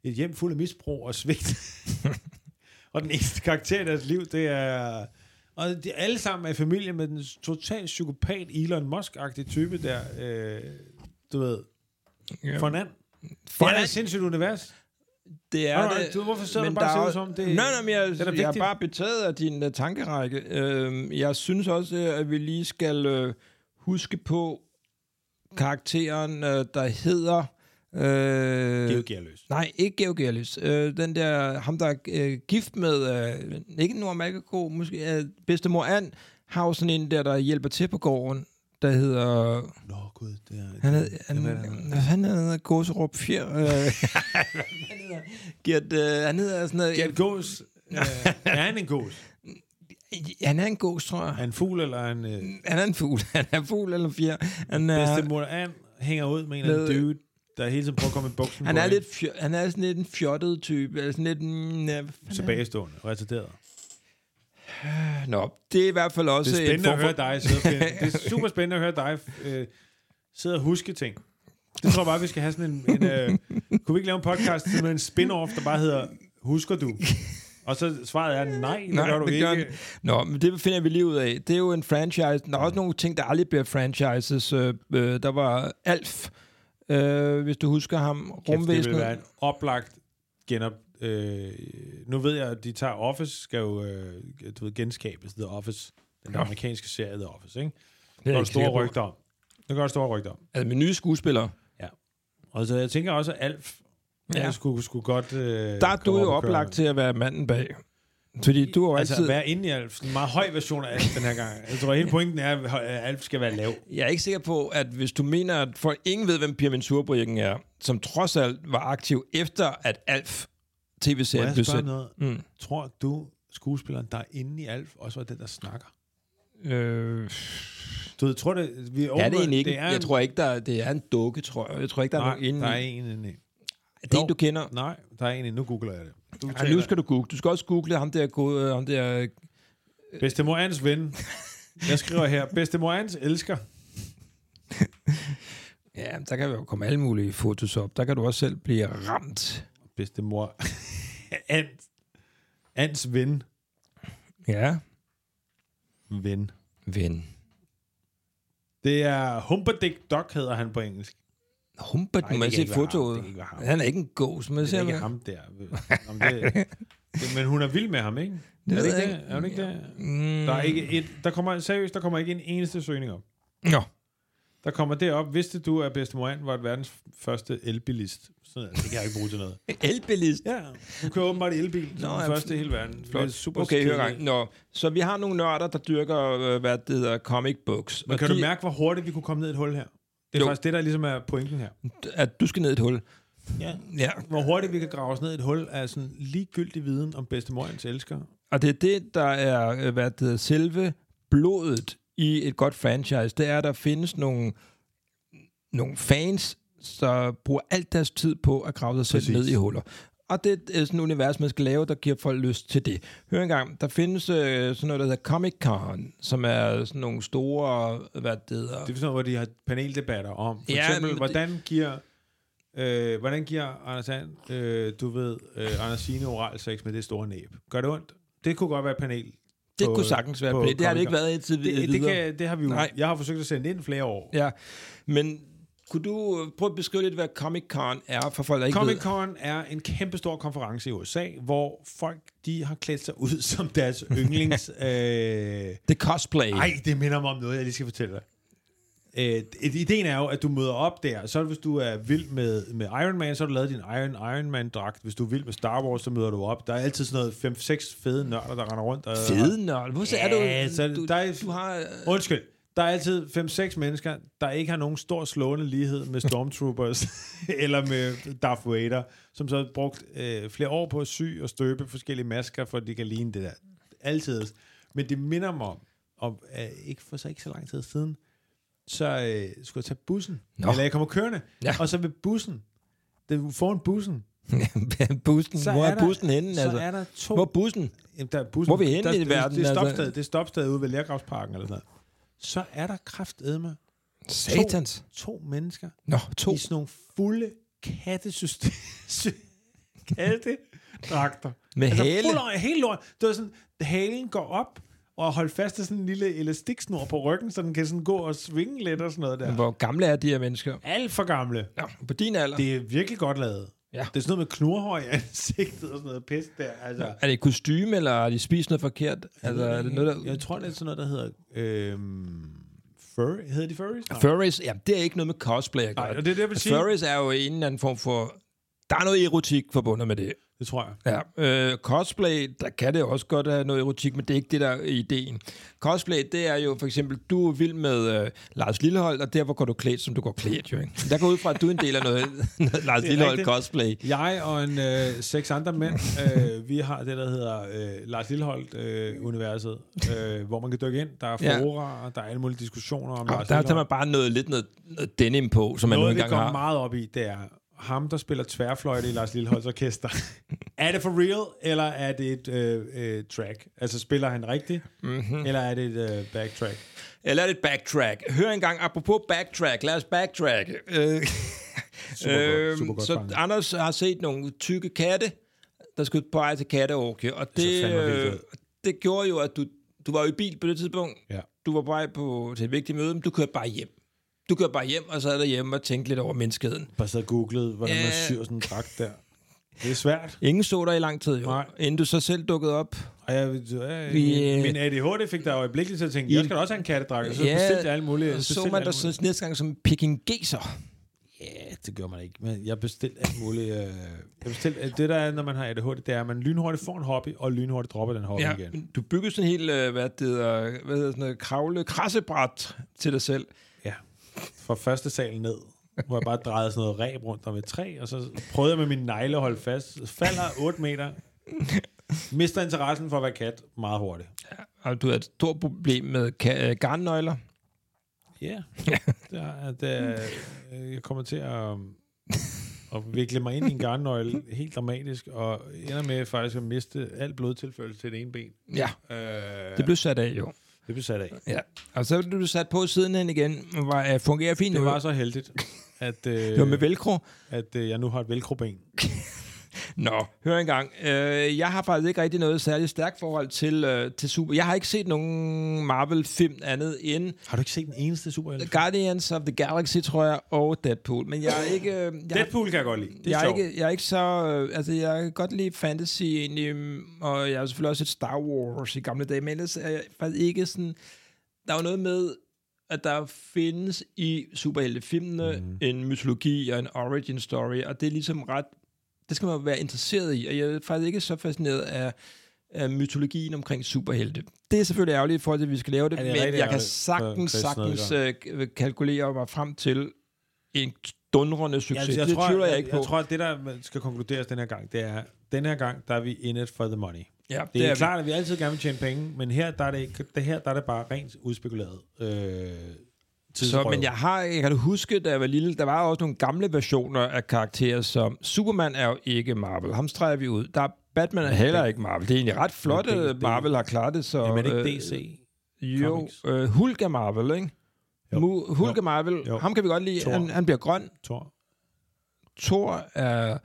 Speaker 3: et hjem fuld af misbrug og svigt. og den eneste karakter i deres liv, det er... Og de alle sammen er i familie med den totalt psykopat Elon Musk-agtige type der, øh, du ved,
Speaker 1: ja.
Speaker 3: Fornand.
Speaker 1: For-
Speaker 3: Fornand er et sindssygt univers.
Speaker 1: Det er
Speaker 3: Alright,
Speaker 1: det.
Speaker 3: du- hvorfor sidder
Speaker 1: men
Speaker 3: du bare og
Speaker 1: der
Speaker 3: ser
Speaker 1: er-
Speaker 3: ud som det-
Speaker 1: Nej, nej, men jeg,
Speaker 3: det er da
Speaker 1: jeg er
Speaker 3: vigtigt.
Speaker 1: bare betaget af din uh, tankerække. Uh, jeg synes også, øh, at vi lige skal uh, huske på karakteren, uh, der hedder...
Speaker 3: Det er
Speaker 1: Uh,
Speaker 3: jo gearløs.
Speaker 1: nej, ikke Georg Gerlis. Uh, den der, ham der er uh, gift med, uh, ikke Nora Malkeko, måske uh, bedstemor Ann, har jo sådan en der, der hjælper til på gården, der hedder...
Speaker 3: Nå gud, det er...
Speaker 1: Han hed, han,
Speaker 3: det var det.
Speaker 1: hvad fanden hedder han? hedder? Gåserup Fjer? Øh, han hedder, Gert, øh, han hedder sådan noget...
Speaker 3: Gert Gås. Øh, er han en gås?
Speaker 1: Han er en gås, tror jeg.
Speaker 3: Er en fugl eller en øh,
Speaker 1: Han er en fugl. Han er fugl eller fjer. Han er,
Speaker 3: bedstemor? Han hænger ud med en eller anden
Speaker 1: Med-
Speaker 3: dude, der hele tiden prøver at komme i buksen
Speaker 1: han
Speaker 3: på
Speaker 1: er,
Speaker 3: en,
Speaker 1: lidt fjo, han er sådan lidt en fjottet type. Eller sådan lidt en... Ja, hvad fanden er
Speaker 3: tilbagestående og retarderet.
Speaker 1: han? Nå, det er i hvert fald også
Speaker 3: Det er
Speaker 1: en
Speaker 3: spændende
Speaker 1: form
Speaker 3: at
Speaker 1: for...
Speaker 3: høre dig sidde og finde. Det er super spændende at høre dig øh, sidde og huske ting. Det tror jeg bare, vi skal have sådan en... en øh, kunne vi ikke lave en podcast med en spin-off, der bare hedder Husker du? Og så svaret er, nej, det
Speaker 1: Nej,
Speaker 3: gør du
Speaker 1: det
Speaker 3: ikke.
Speaker 1: gør han. Nå, men det finder vi lige ud af. Det er jo en franchise. Der er
Speaker 3: Mm.
Speaker 1: også nogle ting, der aldrig bliver franchises. Øh, øh, der var Alf, øh, hvis du husker ham.
Speaker 3: Kæft, det vil være
Speaker 1: Rumvæsenet.
Speaker 3: en oplagt genop... Øh, nu ved jeg, at de tager Office, skal jo øh, du ved, genskabes, The Office. Den
Speaker 1: Nå.
Speaker 3: amerikanske serie The Office, ikke?
Speaker 1: Det
Speaker 3: Det
Speaker 1: er
Speaker 3: går
Speaker 1: jeg
Speaker 3: der
Speaker 1: ikke sikker
Speaker 3: store
Speaker 1: på.
Speaker 3: rygter om. Det går der store rygter om.
Speaker 1: Altså med nye skuespillere.
Speaker 3: Og så jeg tænker også, at Alf
Speaker 1: Ja.
Speaker 3: ja. skulle, skulle godt... Øh,
Speaker 1: Der er du
Speaker 3: komme
Speaker 1: jo
Speaker 3: op og køre.
Speaker 1: oplagt til at være manden bag. Fordi du er jo
Speaker 3: altså,
Speaker 1: altid...
Speaker 3: altid... være inde i Alf. Sådan En meget høj version af Alf den her gang. Jeg tror, hele pointen er, at øh, Alf skal være lav.
Speaker 1: Jeg er ikke sikker på, at hvis du mener, at folk ingen ved, hvem Pia Mensurbryggen er, som trods alt var aktiv efter, at Alf
Speaker 3: Må
Speaker 1: tv-serien
Speaker 3: jeg
Speaker 1: blev
Speaker 3: spørge
Speaker 1: sendt.
Speaker 3: noget?
Speaker 1: Mm.
Speaker 3: Tror du, skuespilleren, der er inde i Alf, også var den, der snakker?
Speaker 1: Øh,
Speaker 3: Du ved, tror det... Vi
Speaker 1: er det egentlig ikke?
Speaker 3: Det er
Speaker 1: jeg
Speaker 3: en-
Speaker 1: tror ikke, der, det er en dukke, tror jeg. Jeg tror ikke, der er
Speaker 3: Nej,
Speaker 1: nogen inden.
Speaker 3: der er
Speaker 1: i.
Speaker 3: en inde i.
Speaker 1: Det er en, du kender.
Speaker 3: Nej, der er en inde. Nu googler jeg det. Du
Speaker 1: Ja, nu skal du google. Du skal også google ham der,
Speaker 3: øh,
Speaker 1: gode, ham der
Speaker 3: Bedstemor Ans ven. Jeg skriver her, bedstemor Ans elsker.
Speaker 1: Ja, men der kan jo komme alle mulige fotos op. Der kan du også selv blive ramt.
Speaker 3: Bedstemor Ans. Ans ven.
Speaker 1: Ja,
Speaker 3: Ven.
Speaker 1: ven.
Speaker 3: Det er Humperdick Duck, hedder han på engelsk.
Speaker 1: Humper,
Speaker 3: det
Speaker 1: må jeg
Speaker 3: kan
Speaker 1: se
Speaker 3: ikke være ham.
Speaker 1: fotoet.
Speaker 3: Det kan ikke være ham.
Speaker 1: Han er ikke en gås, men
Speaker 3: Det er
Speaker 1: ser
Speaker 3: ikke
Speaker 1: man.
Speaker 3: ham der. Om det, det, men hun er vild med ham, ikke? Det er,
Speaker 1: ved
Speaker 3: det
Speaker 1: jeg
Speaker 3: ikke,
Speaker 1: ikke.
Speaker 3: det? er hun ikke det?
Speaker 1: Mm.
Speaker 3: Der er ikke et, der kommer, seriøst, der kommer ikke en eneste søgning op.
Speaker 1: Nå,
Speaker 3: Der kommer det op, vidste du, at bedstemor Ann var verdens første elbilist? Sådan, er det det kan jeg ikke bruge til noget.
Speaker 1: elbilist.
Speaker 3: Ja, hun kører åbenbart elbil. Nå,
Speaker 1: Nå,
Speaker 3: den
Speaker 1: ja,
Speaker 3: første i hele verden. Det er
Speaker 1: Flot.
Speaker 3: super
Speaker 1: okay, hør
Speaker 3: kedeligt.
Speaker 1: gang. Nå, så vi har nogle nørder, der dyrker, øh, hvad det hedder, comic books.
Speaker 3: Men
Speaker 1: Og
Speaker 3: kan
Speaker 1: de,
Speaker 3: du mærke, hvor hurtigt vi kunne komme ned i et hul her? Det
Speaker 1: Jo.
Speaker 3: er jo. faktisk det, der ligesom er pointen her.
Speaker 1: at du skal ned i et hul?
Speaker 3: Ja.
Speaker 1: Ja,
Speaker 3: Hvor hurtigt vi kan grave os ned i et hul af sådan ligegyldig viden om bedstemorens elsker.
Speaker 1: og det er det, der er, øh, hvad det hedder, selve blodet i et godt franchise. Det er, at der findes nogle, nogle fans, der bruger alt deres tid på at grave sig selv
Speaker 3: Præcis.
Speaker 1: ned i huller. Og det er sådan et univers, man skal lave, der giver folk lyst til det. Hør engang, der findes øh, sådan noget, der hedder Comic Con, som er sådan nogle store, hvad det hedder...
Speaker 3: Det er sådan noget, hvor de har paneldebatter om. For
Speaker 1: Ja,
Speaker 3: ja,
Speaker 1: men
Speaker 3: eksempel,
Speaker 1: det-
Speaker 3: hvordan giver... Øh, hvordan giver Anders And, øh, du ved, øh, Anders Signe oral sex med det store næb? Gør det ondt? Det kunne godt være et panel.
Speaker 1: Det
Speaker 3: på-
Speaker 1: kunne sagtens være
Speaker 3: på
Speaker 1: pænt. Det har det
Speaker 3: Comic-Con.
Speaker 1: ikke været indtil
Speaker 3: Det, det, kan, det har vi jo...
Speaker 1: Nej.
Speaker 3: Nej. Jeg har forsøgt at sende ind flere år. Ja.
Speaker 1: Ja, men kunne du øh, prøve at beskrive lidt, hvad Comic Con er for folk, der ikke
Speaker 3: Comic
Speaker 1: ved?
Speaker 3: Con er en kæmpestor konference i USA, hvor folk de har klædt sig ud som deres yndlings... øh,
Speaker 1: Det er cosplay.
Speaker 3: Ej, det minder mig om noget, jeg lige skal fortælle dig. Øh, d- ideen er jo, at du møder op der, så hvis du er vild med, med Iron Man, så har du lavet din Iron, Iron Man-dragt. Hvis du er vild med Star Wars, så møder du op. Der er altid sådan noget 5-6 fede nørder, der render rundt. Og,
Speaker 1: Fede nørd. Hvorfor
Speaker 3: Ja,
Speaker 1: er du...
Speaker 3: så
Speaker 1: du,
Speaker 3: der er-
Speaker 1: du har... øh,
Speaker 3: Undskyld. Der er altid 5-6 mennesker, der ikke har nogen stor slående lighed med Stormtroopers eller med Darth Vader, som så har brugt øh, flere år på at sy og støbe forskellige masker, for at de kan ligne det der. Altid. Men det minder mig om, om øh, ikke for så ikke så lang tid siden, så øh, skulle jeg tage bussen.
Speaker 1: Nå.
Speaker 3: Nå. Eller jeg kommer kørende.
Speaker 1: Ja.
Speaker 3: Ja. Og så ved bussen, den, foran bussen,
Speaker 1: bussen.
Speaker 3: så
Speaker 1: Hvor er,
Speaker 3: der,
Speaker 1: bussen henne?
Speaker 3: så
Speaker 1: altså?
Speaker 3: er der to
Speaker 1: Hvor er bussen?
Speaker 3: Jamen, der er bussen,
Speaker 1: Hvor er vi henne
Speaker 3: der,
Speaker 1: i verden,
Speaker 3: Det er
Speaker 1: altså?
Speaker 3: stopstedet, det er stopstedet ude ved Lærgravsparken eller sådan noget. Så er der kraftedme
Speaker 1: Satans.
Speaker 3: to mennesker
Speaker 1: Nå, to.
Speaker 3: i sådan nogle fulde kattesystem. kattedragter. Altså,
Speaker 1: Med hale.
Speaker 3: Fuld, øje- hele lort. Det var sådan, halen går op og holdt fast i sådan en lille elastiksnor på ryggen, så den kan sådan gå og svinge lidt og sådan noget der.
Speaker 1: Hvor gamle er de her mennesker?
Speaker 3: Alt for gamle.
Speaker 1: Nå, på din alder. Det,
Speaker 3: Det er virkelig godt lavet.
Speaker 1: Ja.
Speaker 3: Det er sådan noget med knurhøj i ansigtet og sådan noget pis der. Altså,
Speaker 1: er det kostume, eller har de spist noget forkert? Altså, er det noget, der...
Speaker 3: øh, Jeg tror, det er sådan noget, der hedder... Øhm, fur, hedder de furries? Nej.
Speaker 1: Furries, ja, det er ikke noget med cosplay at gøre. Altså,
Speaker 3: Nej, og det er det, jeg vil sige.
Speaker 1: Furries er jo en eller anden form for... Der er noget erotik forbundet med det.
Speaker 3: Det tror jeg.
Speaker 1: Ja, øh, cosplay, der kan det også godt have noget erotik, men det er ikke det, der er ideen. Cosplay, det er jo for eksempel, du er vild med øh, Lars Lillehold, og derfor går du klædt, som du går klædt, jo ikke? Der går ud fra, at du er en del af noget, noget Lars Lillehold
Speaker 3: rigtigt.
Speaker 1: cosplay.
Speaker 3: Jeg og en, øh, seks andre mænd, øh, vi har det, der hedder øh, Lars Lilleholdt-universet, øh, hvor man kan dykke ind. Der er
Speaker 1: Ja.
Speaker 3: forarer, der er alle mulige diskussioner om
Speaker 1: Og
Speaker 3: Lars
Speaker 1: der tager man
Speaker 3: Lilleholdt.
Speaker 1: bare noget, lidt noget, noget denim på, som man nu
Speaker 3: Noget, vi
Speaker 1: engang
Speaker 3: går
Speaker 1: har.
Speaker 3: meget op i, det er ham, der spiller tværfløjte i Lars Lilleholds orkester. er det for real, eller er det et øh, øh, track? Altså, spiller han rigtigt,
Speaker 1: Mhm.
Speaker 3: mm-hmm. eller er det et øh, backtrack?
Speaker 1: Eller er det et backtrack? Hør engang, apropos backtrack, lad os backtrack. Øh, øhm,
Speaker 3: Supergodt, supergodt
Speaker 1: så
Speaker 3: fanget.
Speaker 1: Anders har set nogle tykke katte, der skulle på vej til katteorke, og
Speaker 3: så
Speaker 1: det,
Speaker 3: fandme vildt
Speaker 1: øh,
Speaker 3: ud.
Speaker 1: det gjorde jo, at du, du var jo i bil på det tidspunkt.
Speaker 3: Ja.
Speaker 1: Du var på vej på, til et vigtigt møde, men du kørte bare hjem. Du kørte bare hjem og sad derhjemme og tænkte lidt over menneskeheden.
Speaker 3: Bare sad og googlede, hvordan man
Speaker 1: Ja.
Speaker 3: syr sådan en dragt der. Det er svært.
Speaker 1: Ingen så dig i lang tid, jo,
Speaker 3: Nej.
Speaker 1: inden du så selv dukkede op.
Speaker 3: Og jeg, øh,
Speaker 1: Vi, øh,
Speaker 3: min, min ADHD fik der øjeblikkeligt til at tænke, jeg skal da også have en kattedrag, og så yeah, Altså, bestilte jeg alle mulige.
Speaker 1: og så
Speaker 3: bestilte
Speaker 1: man
Speaker 3: alle
Speaker 1: dig så næste gang som pekingeser.
Speaker 3: mulige- Ja, det gør man ikke, men jeg bestilte alt muligt. Øh, jeg bestilte, øh, det der er, når man har ADHD, det er, at man lynhurtigt får en hobby, og lynhurtigt dropper den hobby
Speaker 1: Ja,
Speaker 3: ja. igen.
Speaker 1: men du byggede sådan en hel, øh, hvad det hedder, hvad hedder sådan noget, kravle, krassebræt til dig selv.
Speaker 3: Ja. Fra første sal ned, hvor jeg bare drejede sådan noget ræb rundt om et træ, og så prøvede jeg med min negle at holde fast. Falder 8 meter. Mister interessen for at være kat meget hurtigt.
Speaker 1: Og du havde et stort problem med ka- øh, garnnøgler.
Speaker 3: Ja, det er, det er, øh, jeg kommer til at, um, at vikle mig ind i en garnnøgle helt dramatisk, og ender med faktisk at miste al blodtilførelse til det ene ben.
Speaker 1: Ja,
Speaker 3: Øh,
Speaker 1: det blev sat af, jo.
Speaker 3: det blev sat af.
Speaker 1: Ja. Og så blev du sat på sidenhen igen, og var, øh, fungerer fint.
Speaker 3: Det
Speaker 1: nu.
Speaker 3: var så heldigt, at, øh,
Speaker 1: det var med velcro.
Speaker 3: at øh, jeg nu har et velcroben.
Speaker 1: Nå, hør engang. Øh, jeg har faktisk ikke rigtig noget særligt stærkt forhold til, øh, til Super. Jeg har ikke set nogen Marvel-film andet end
Speaker 3: Har du ikke set den eneste superhelt?
Speaker 1: Guardians of the Galaxy, tror jeg, og Deadpool. Men jeg er ikke... Øh, jeg,
Speaker 3: Deadpool kan jeg godt lide. Det er,
Speaker 1: jeg er,
Speaker 3: sjovt.
Speaker 1: ikke, jeg er ikke så... Øh, altså, jeg kan godt lide fantasy egentlig, mm, og jeg har selvfølgelig også set Star Wars i gamle dage, men ellers er jeg faktisk ikke sådan... Der er jo noget med, at der findes i superheltefilmene
Speaker 3: Mhm.
Speaker 1: mm. en mytologi og en origin story, og det er ligesom ret... Det skal man være interesseret i, og jeg er faktisk ikke så fascineret af, af mytologien omkring superhelte. Det er selvfølgelig ærgerligt i forhold til, at vi skal lave det,
Speaker 3: Ja, det er
Speaker 1: men
Speaker 3: rigtig
Speaker 1: jeg kan sagtens,
Speaker 3: ærgerligt for Chris
Speaker 1: sagtens øh, k- kalkulere mig frem til en dundrende
Speaker 3: Ja,
Speaker 1: succes.
Speaker 3: altså, jeg,
Speaker 1: det
Speaker 3: tror,
Speaker 1: tvivler jeg,
Speaker 3: jeg,
Speaker 1: ikke på.
Speaker 3: jeg tror, at det, der skal konkluderes den her gang, det er, at den her gang, der er vi in it for the money.
Speaker 1: Ja,
Speaker 3: Det, det er
Speaker 1: vi.
Speaker 3: klart, at vi altid gerne vil tjene penge, men her der er det, ikke, det her der er det bare rent udspekuleret. Øh,
Speaker 1: Så,
Speaker 3: tidsrøv.
Speaker 1: men jeg har, jeg kan da huske, da jeg var lille, der var også nogle gamle versioner af karakterer, som Superman er jo ikke Marvel. Ham streger vi ud. Der er Batman er heller ikke Marvel. Det er egentlig ret flot,
Speaker 3: Men det-
Speaker 1: at
Speaker 3: det-
Speaker 1: Marvel har klaret det. Så,
Speaker 3: Jamen, er det ikke DC?
Speaker 1: Øh, jo,
Speaker 3: Comics?
Speaker 1: øh, Hulk er Marvel, ikke?
Speaker 3: Jo.
Speaker 1: Mu- Hulk
Speaker 3: Jo.
Speaker 1: er Marvel.
Speaker 3: Jo.
Speaker 1: Ham kan vi godt lide.
Speaker 3: Thor.
Speaker 1: Han, han bliver grøn.
Speaker 3: Thor.
Speaker 1: Thor er...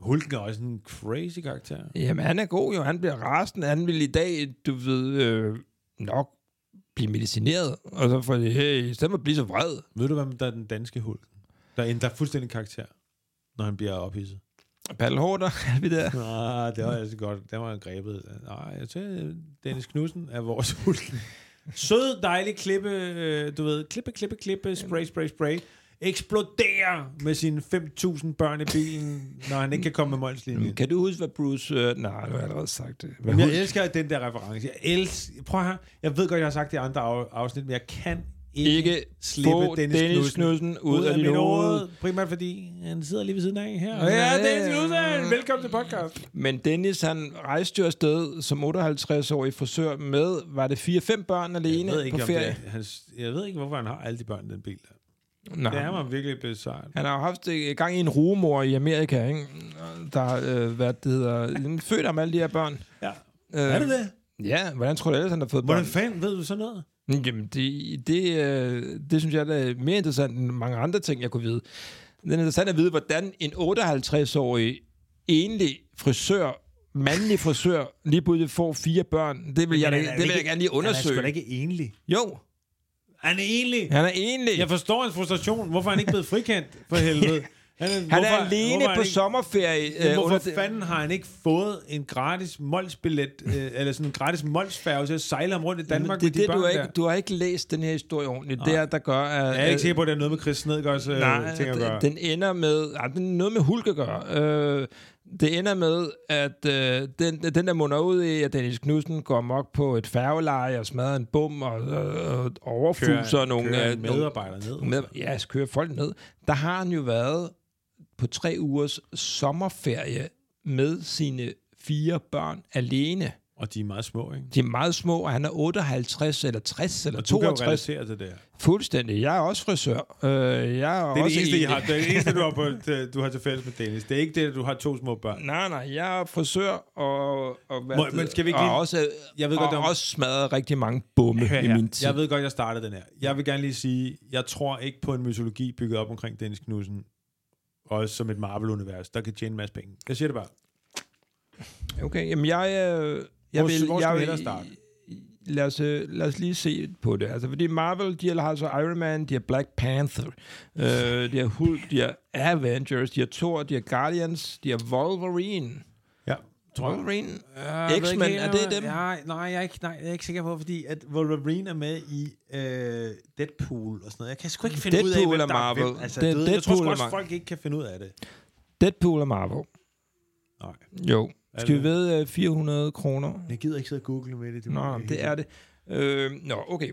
Speaker 3: Hulken er også en crazy karakter.
Speaker 1: Jamen, han er god jo. Han bliver rasende. Han vil i dag, du ved, øh, nok blive medicineret. Og så får de, hey, i stedet for at blive så vred.
Speaker 3: Ved du, hvem der er den danske Hulken? Der ændrer fuldstændig karakter, når han bliver ophidset.
Speaker 1: Paddle Hårder, er vi der?
Speaker 3: Nej,
Speaker 1: Ah.
Speaker 3: det var altså godt. Den var jeg grebet. Nej, jeg tror, Dennis Knudsen er vores Hulken. Sød, dejlig klippe, øh, du ved, klippe, klippe, klippe, spray, spray, spray. Eksploderer med sine 5.000 børn i bilen, når han ikke kan komme med målslinjen.
Speaker 1: Kan du huske, hvad Bruce... Øh, nej, du har allerede sagt det. Hvad
Speaker 3: Men jeg
Speaker 1: Hulk-
Speaker 3: elsker den der reference. Jeg elsker, prøv her. Jeg ved godt, jeg har sagt det i andre af- afsnit, men jeg kan ikke,
Speaker 1: ikke
Speaker 3: slippe
Speaker 1: få
Speaker 3: Dennis, Dennis Knudsen ud af, af
Speaker 1: dit
Speaker 3: mit
Speaker 1: hoved.
Speaker 3: hoved. Primært fordi, han sidder lige ved siden af her. Ja,
Speaker 1: Ja.
Speaker 3: ja Dennis Knudsen, velkommen til podcast.
Speaker 1: Men Dennis, han rejste jo afsted som 58-årig frisør med, var det 4-5 børn alene på
Speaker 3: om
Speaker 1: ferie?
Speaker 3: det er hans, jeg ved ikke, hvorfor han har alle de børn i den bil. Der. Det er
Speaker 1: Nej.
Speaker 3: mig virkelig bizarrt.
Speaker 1: Han har jo haft øh, gang i en rugemor i Amerika, ikke? der har øh, hvad det hedder, født ham alle de her børn.
Speaker 3: Ja.
Speaker 1: Øh,
Speaker 3: Er det det?
Speaker 1: Ja, hvordan tror du ellers, han har fået
Speaker 3: Hvordan
Speaker 1: børn?
Speaker 3: fanden ved du sådan noget?
Speaker 1: Jamen, det, det, øh, det synes jeg der er mere interessant end mange andre ting, jeg kunne vide. Det er interessant at vide, hvordan en 58-årig enlig frisør, mandlig frisør, lige pludselig får fire børn. Det vil, jeg, da, det vil jeg gerne lige undersøge.
Speaker 3: Han er sgu da ikke enlig.
Speaker 1: Jo,
Speaker 3: Han er enlig.
Speaker 1: han er enlig.
Speaker 3: Jeg forstår hans frustration. Hvorfor er han ikke blevet frikendt, for helvede? Han er,
Speaker 1: han er alene på sommerferie.
Speaker 3: Øh,
Speaker 1: øh,
Speaker 3: Hvorfor
Speaker 1: under det-
Speaker 3: fanden har han ikke fået en gratis molsbillet, øh, eller sådan en gratis molsfærge til at sejle ham rundt i Danmark
Speaker 1: det er
Speaker 3: med de
Speaker 1: det,
Speaker 3: børn
Speaker 1: du har, ikke,
Speaker 3: der?
Speaker 1: du har ikke læst den her historie ordentligt. Det er, der gør... At,
Speaker 3: Jeg er ikke sikker på, at det er noget med Chris Snedgaards øh,
Speaker 1: Nej,
Speaker 3: ting at
Speaker 1: den,
Speaker 3: gøre.
Speaker 1: den ender med... Ej, den er noget med Hulk at gøre. Øh, Det ender med, at øh, den, den der munder ud i, at Dennis Knudsen går mok på et færgeleje og smadrer en bum og, og, og overfuser nogle...
Speaker 3: kører
Speaker 1: øh,
Speaker 3: en
Speaker 1: nogle-
Speaker 3: medarbejder ned.
Speaker 1: med, ja, altså kører folk ned. Der har han jo været på tre ugers sommerferie med sine fire børn alene.
Speaker 3: Og de er meget små, ikke?
Speaker 1: De er meget små, og han er 58 eller 60 eller
Speaker 3: Og du kan jo
Speaker 1: 62.
Speaker 3: relatere til det her.
Speaker 1: Fuldstændig. Jeg er også frisør. Øh, jeg er
Speaker 3: Det er
Speaker 1: også
Speaker 3: det eneste, I
Speaker 1: enig.
Speaker 3: har. Det er det eneste, du har, på, til- du har til fælles med Dennis. Det er ikke det, at du har to små børn.
Speaker 1: Nej, nej, jeg er frisør og, og, hvad
Speaker 3: Må-
Speaker 1: det-
Speaker 3: men skal vi ikke
Speaker 1: og
Speaker 3: lige-
Speaker 1: også, øh,
Speaker 3: Jeg ved
Speaker 1: og
Speaker 3: godt, der-
Speaker 1: også smadret rigtig mange bomme
Speaker 3: Hør
Speaker 1: i
Speaker 3: her.
Speaker 1: min tid.
Speaker 3: Jeg ved godt, jeg startede den her. Jeg vil gerne lige sige, jeg tror ikke på en mytologi bygget op omkring Dennis Knudsen, også som et Marvel-univers, der kan tjene en masse penge. Jeg siger det bare.
Speaker 1: Okay, jamen jeg... Øh, jeg
Speaker 3: Hvor-
Speaker 1: vil,
Speaker 3: hvor skal
Speaker 1: jeg
Speaker 3: vi
Speaker 1: vil-
Speaker 3: ellers starte?
Speaker 1: Lad os, øh, lad os lige se på det. Altså, fordi Marvel, de har altså Iron Man, de har Black Panther, øh, de har Hulk, de har Avengers, de har Thor, de har Guardians, de har Wolverine.
Speaker 3: Ja. Tror jeg.
Speaker 1: Wolverine?
Speaker 3: Jeg ved ikke
Speaker 1: X-Men,
Speaker 3: helt,
Speaker 1: er det
Speaker 3: om-
Speaker 1: dem?
Speaker 3: Nej, nej, jeg er ikke, nej, jeg er ikke sikker på, fordi at Wolverine er med i øh, Deadpool og sådan noget. Jeg kan sgu ikke finde ud af,
Speaker 1: Deadpool
Speaker 3: hvem
Speaker 1: er
Speaker 3: der er hvem.
Speaker 1: Marvel.
Speaker 3: Altså,
Speaker 1: Det er
Speaker 3: det, ved, jeg tror sgu
Speaker 1: Deadpool er
Speaker 3: også,
Speaker 1: Marvel.
Speaker 3: folk ikke kan finde ud af det.
Speaker 1: Deadpool og Marvel.
Speaker 3: Nej.
Speaker 1: Jo.
Speaker 3: Er
Speaker 1: Skal vi
Speaker 3: det-
Speaker 1: ved øh, 400 kroner?
Speaker 3: Jeg gider ikke sidde og google med det. det
Speaker 1: Nå, det er det. Øh, nå, okay.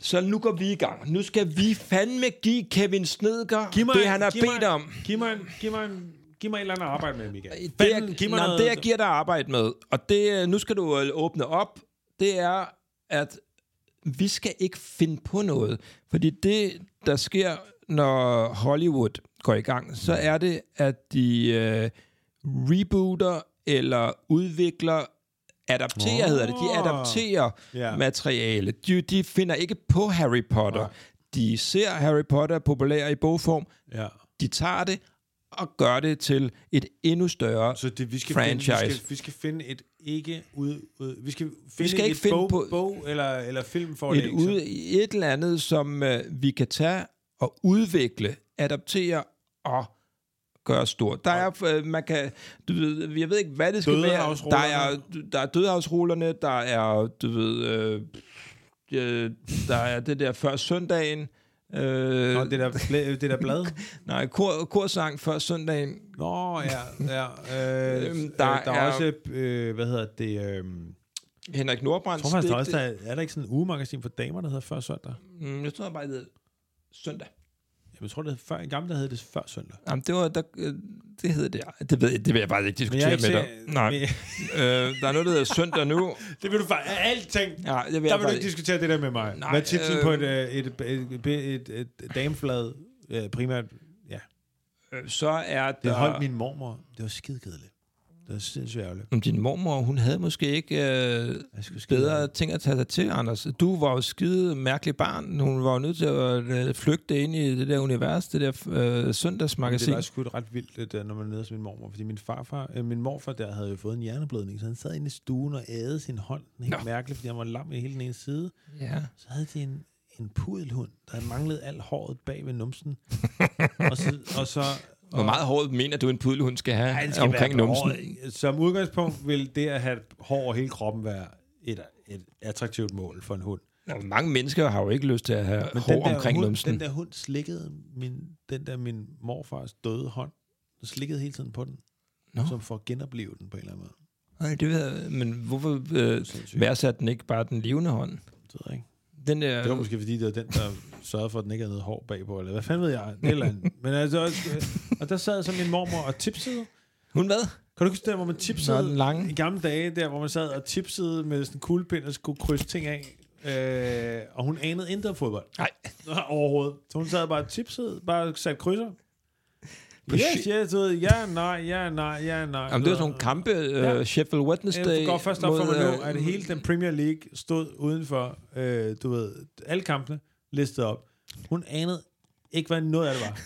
Speaker 1: Så nu går vi i gang. Nu skal vi fandme give Kevin Snedker
Speaker 3: Giv mig,
Speaker 1: det, han har
Speaker 3: giv mig-
Speaker 1: bedt om.
Speaker 3: Giv mig, en- giv mig, en- giv mig et eller andet arbejde med, Michael.
Speaker 1: Det,
Speaker 3: Fanden,
Speaker 1: jeg,
Speaker 3: giv mig
Speaker 1: nej,
Speaker 3: noget-
Speaker 1: det, jeg giver dig arbejde med, og det, øh, nu skal du øh, åbne op, det er, at vi skal ikke finde på noget. Fordi det, der sker, når Hollywood går i gang,
Speaker 3: Mm.
Speaker 1: så er det, at de øh, rebooter eller udvikler, adapterer oh. hedder det, de adapterer
Speaker 3: Ja.
Speaker 1: yeah. materiale. De, de finder ikke på Harry Potter.
Speaker 3: Nej.
Speaker 1: De ser Harry Potter er populær i bogform,
Speaker 3: Ja.
Speaker 1: de tager det og gør det til et endnu større
Speaker 3: Så det, vi skal
Speaker 1: franchise.
Speaker 3: Finde, vi, skal, vi skal finde et ikke ud, ud vi skal finde
Speaker 1: skal
Speaker 3: et
Speaker 1: ikke finde
Speaker 3: bog,
Speaker 1: på-
Speaker 3: bog eller eller film for
Speaker 1: et, ud, et eller andet, som øh, vi kan tage og udvikle, adaptere og gøre stort. Der er, øh, man kan, du ved, jeg ved ikke, hvad det skal være. Der er, der er dødehavsrullerne, der er, du ved, øh, øh, der er det der før søndagen, øh,
Speaker 3: Nå, det der, flæ- det der blad.
Speaker 1: nej, kor, korsang før søndagen,
Speaker 3: Nå, ja, ja. Øh,
Speaker 1: Øhm,
Speaker 3: øhm,
Speaker 1: der
Speaker 3: der, øh, der er,
Speaker 1: er-
Speaker 3: også, øh, hvad hedder det, øh,
Speaker 1: Henrik
Speaker 3: jeg
Speaker 1: Nordbrandt.
Speaker 3: tror faktisk, der er også, der er, er der ikke sådan en ugemagasin for damer, der hedder Før Søndag?
Speaker 1: mm, jeg tror bare, det hedder søndag.
Speaker 3: Jeg tror, det hed før, en gammel, der hed det Før Søndag.
Speaker 1: Jamen, det var, der, øh, det hedder det. Det ved jeg, det vil jeg faktisk ikke
Speaker 3: Men
Speaker 1: diskutere
Speaker 3: jeg er
Speaker 1: med
Speaker 3: ikke
Speaker 1: dig.
Speaker 3: sikker-
Speaker 1: Nej.
Speaker 3: men-
Speaker 1: øh, der er noget, der hedder søndag nu.
Speaker 3: Det vil du faktisk, alting,
Speaker 1: Ja, det vil
Speaker 3: Der
Speaker 1: jeg
Speaker 3: vil du ikke
Speaker 1: faktisk...
Speaker 3: diskutere det der med mig.
Speaker 1: Nej,
Speaker 3: Nej, Hvad er titlen
Speaker 1: øh,
Speaker 3: øh, på et, øh, et, et, et, et, et dameflad øh, primært? Ja.
Speaker 1: Øh, Så er
Speaker 3: Det
Speaker 1: der...
Speaker 3: holdt min mormor. Det var skidekedeligt. Det var sindssygt ærgerligt.
Speaker 1: Om Din mormor, hun havde måske ikke øh,
Speaker 3: Jeg skulle skide
Speaker 1: bedre
Speaker 3: af.
Speaker 1: ting at tage sig til, Anders. Du var jo skide mærkelig barn. Hun var jo nødt til at øh, flygte ind i det der univers, det der øh, søndagsmagasin.
Speaker 3: Det var sgu et ret vildt, det der, når man er nede hos min mormor. Fordi min, farfar, øh, min morfar der havde jo fået en hjerneblødning, så han sad inde i stuen og ædede sin hånd. Den helt
Speaker 1: Nå.
Speaker 3: mærkeligt, fordi han var lam i hele den ene side.
Speaker 1: Ja.
Speaker 3: Så havde de en, en pudelhund, der havde manglet alt håret bag ved numsen. og så... Og så
Speaker 1: Hvor
Speaker 3: og-
Speaker 1: meget hårdt mener du, en pudelhund skal have
Speaker 3: Ej,
Speaker 1: Ej,
Speaker 3: den
Speaker 1: skal omkring
Speaker 3: være på
Speaker 1: numsen?
Speaker 3: håret. Som udgangspunkt vil det at have hår over hele kroppen være et, et attraktivt mål for en hund.
Speaker 1: Nå, mange mennesker har jo ikke lyst til at have
Speaker 3: Men den
Speaker 1: hår
Speaker 3: der
Speaker 1: omkring
Speaker 3: hund,
Speaker 1: numsen.
Speaker 3: Den der hund slikkede min, den der min morfars døde hånd. Den slikkede hele tiden på den.
Speaker 1: Nå.
Speaker 3: No. Som for at genopleve den på en eller anden måde.
Speaker 1: Nej, det ved jeg, men hvorfor øh, værdsatte den ikke bare den levende hånd?
Speaker 3: Det, ved jeg ikke.
Speaker 1: Den der,
Speaker 3: det var måske fordi, det var den, der sørgede for, at den ikke havde noget hår bagpå. Eller hvad fanden ved jeg? Det eller andet. Men altså, og- og der sad så min mormor og tipsede.
Speaker 1: hun hvad?
Speaker 3: Kan du ikke huske der, hvor man tipsede?
Speaker 1: Nå, den lange.
Speaker 3: I gamle dage, der hvor man sad og tipsede med sådan en kuglepind og skulle krydse ting af. Øh, og hun anede intet om fodbold.
Speaker 1: Nej.
Speaker 3: Nå, Overhovedet. Så hun sad bare og tipsede, bare satte krydser.
Speaker 1: På
Speaker 3: Yes,
Speaker 1: shit.
Speaker 3: yes, du ved, ja, nej, ja, nej, ja, nej.
Speaker 1: Jamen, det var sådan nogle kampe, øh,
Speaker 3: Ja.
Speaker 1: Sheffield Wednesday.
Speaker 3: Jeg går først op for mig nu,
Speaker 1: øh,
Speaker 3: at hele den Premier League stod udenfor, øh, du ved, alle kampene listet op. Hun anede ikke, hvad noget af det var.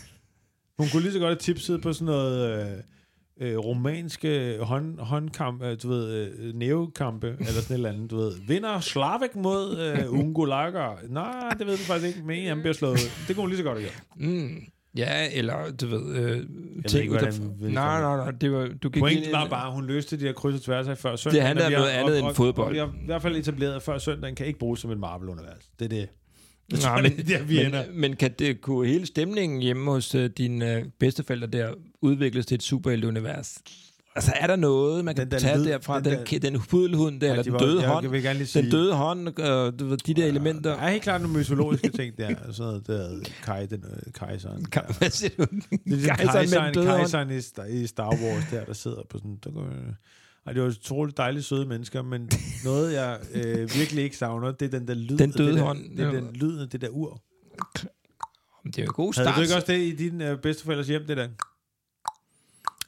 Speaker 3: Hun kunne lige så godt have tipset på sådan noget øh, øh, romanske hånd, håndkamp, øh, du ved, øh, neokampe, eller sådan et eller andet, du ved. Vinder Slavik mod øh, Ungo Lager. Nej, det ved du faktisk ikke, men han bliver slået ud. Det kunne hun lige så godt have gjort.
Speaker 1: Mm, ja, eller du ved... Øh, ting
Speaker 3: ikke, hvordan
Speaker 1: udenfor.
Speaker 3: vi vil
Speaker 1: Nej, nej,
Speaker 3: komme
Speaker 1: nej, det var... Du gik
Speaker 3: Pointen
Speaker 1: ind-
Speaker 3: var bare, at hun løste de her kryds og tværs af før søndag.
Speaker 1: Det handler om noget andet end fodbold.
Speaker 3: Vi har i hvert fald etableret, at før søndagen kan ikke bruges som et Marvel-univers. Det er det.
Speaker 1: Nej,
Speaker 3: det er der, vi ender.
Speaker 1: men, men kan det, kunne hele stemningen hjemme hos øh, dine øh, bedsteforældre der udvikles til et superhelte univers? Altså, er der noget, man kan
Speaker 3: Den der
Speaker 1: den tage
Speaker 3: lyd,
Speaker 1: derfra?
Speaker 3: den
Speaker 1: Den, den,
Speaker 3: der-
Speaker 1: den, den pudelhund der, eller
Speaker 3: de
Speaker 1: den
Speaker 3: var-
Speaker 1: døde
Speaker 3: jeg
Speaker 1: hånd?
Speaker 3: vil gerne lige
Speaker 1: Den
Speaker 3: sige-
Speaker 1: døde hånd, og du ved, de der elementer.
Speaker 3: Der er helt klart nogle mytologiske ting der. Sådan noget der, Kai, den, øh, kejseren.
Speaker 1: Kan,
Speaker 3: der.
Speaker 1: hvad siger du?
Speaker 3: Det er
Speaker 1: Kejseren
Speaker 3: den
Speaker 1: med den
Speaker 3: kejseren,
Speaker 1: døde hånd.
Speaker 3: kejseren i, Star, i Star Wars der, der sidder på sådan... Der går, ej, det var utroligt dejligt søde mennesker, men noget, jeg øh, virkelig ikke savner, det er den der lyd.
Speaker 1: Den
Speaker 3: af
Speaker 1: døde
Speaker 3: det der,
Speaker 1: hånd.
Speaker 3: Det er den lyd af det der ur.
Speaker 1: Men Det er jo en god
Speaker 3: Havde
Speaker 1: start.
Speaker 3: du ikke også det i din øh, bedsteforældres hjem, det der?
Speaker 1: Nej,
Speaker 3: på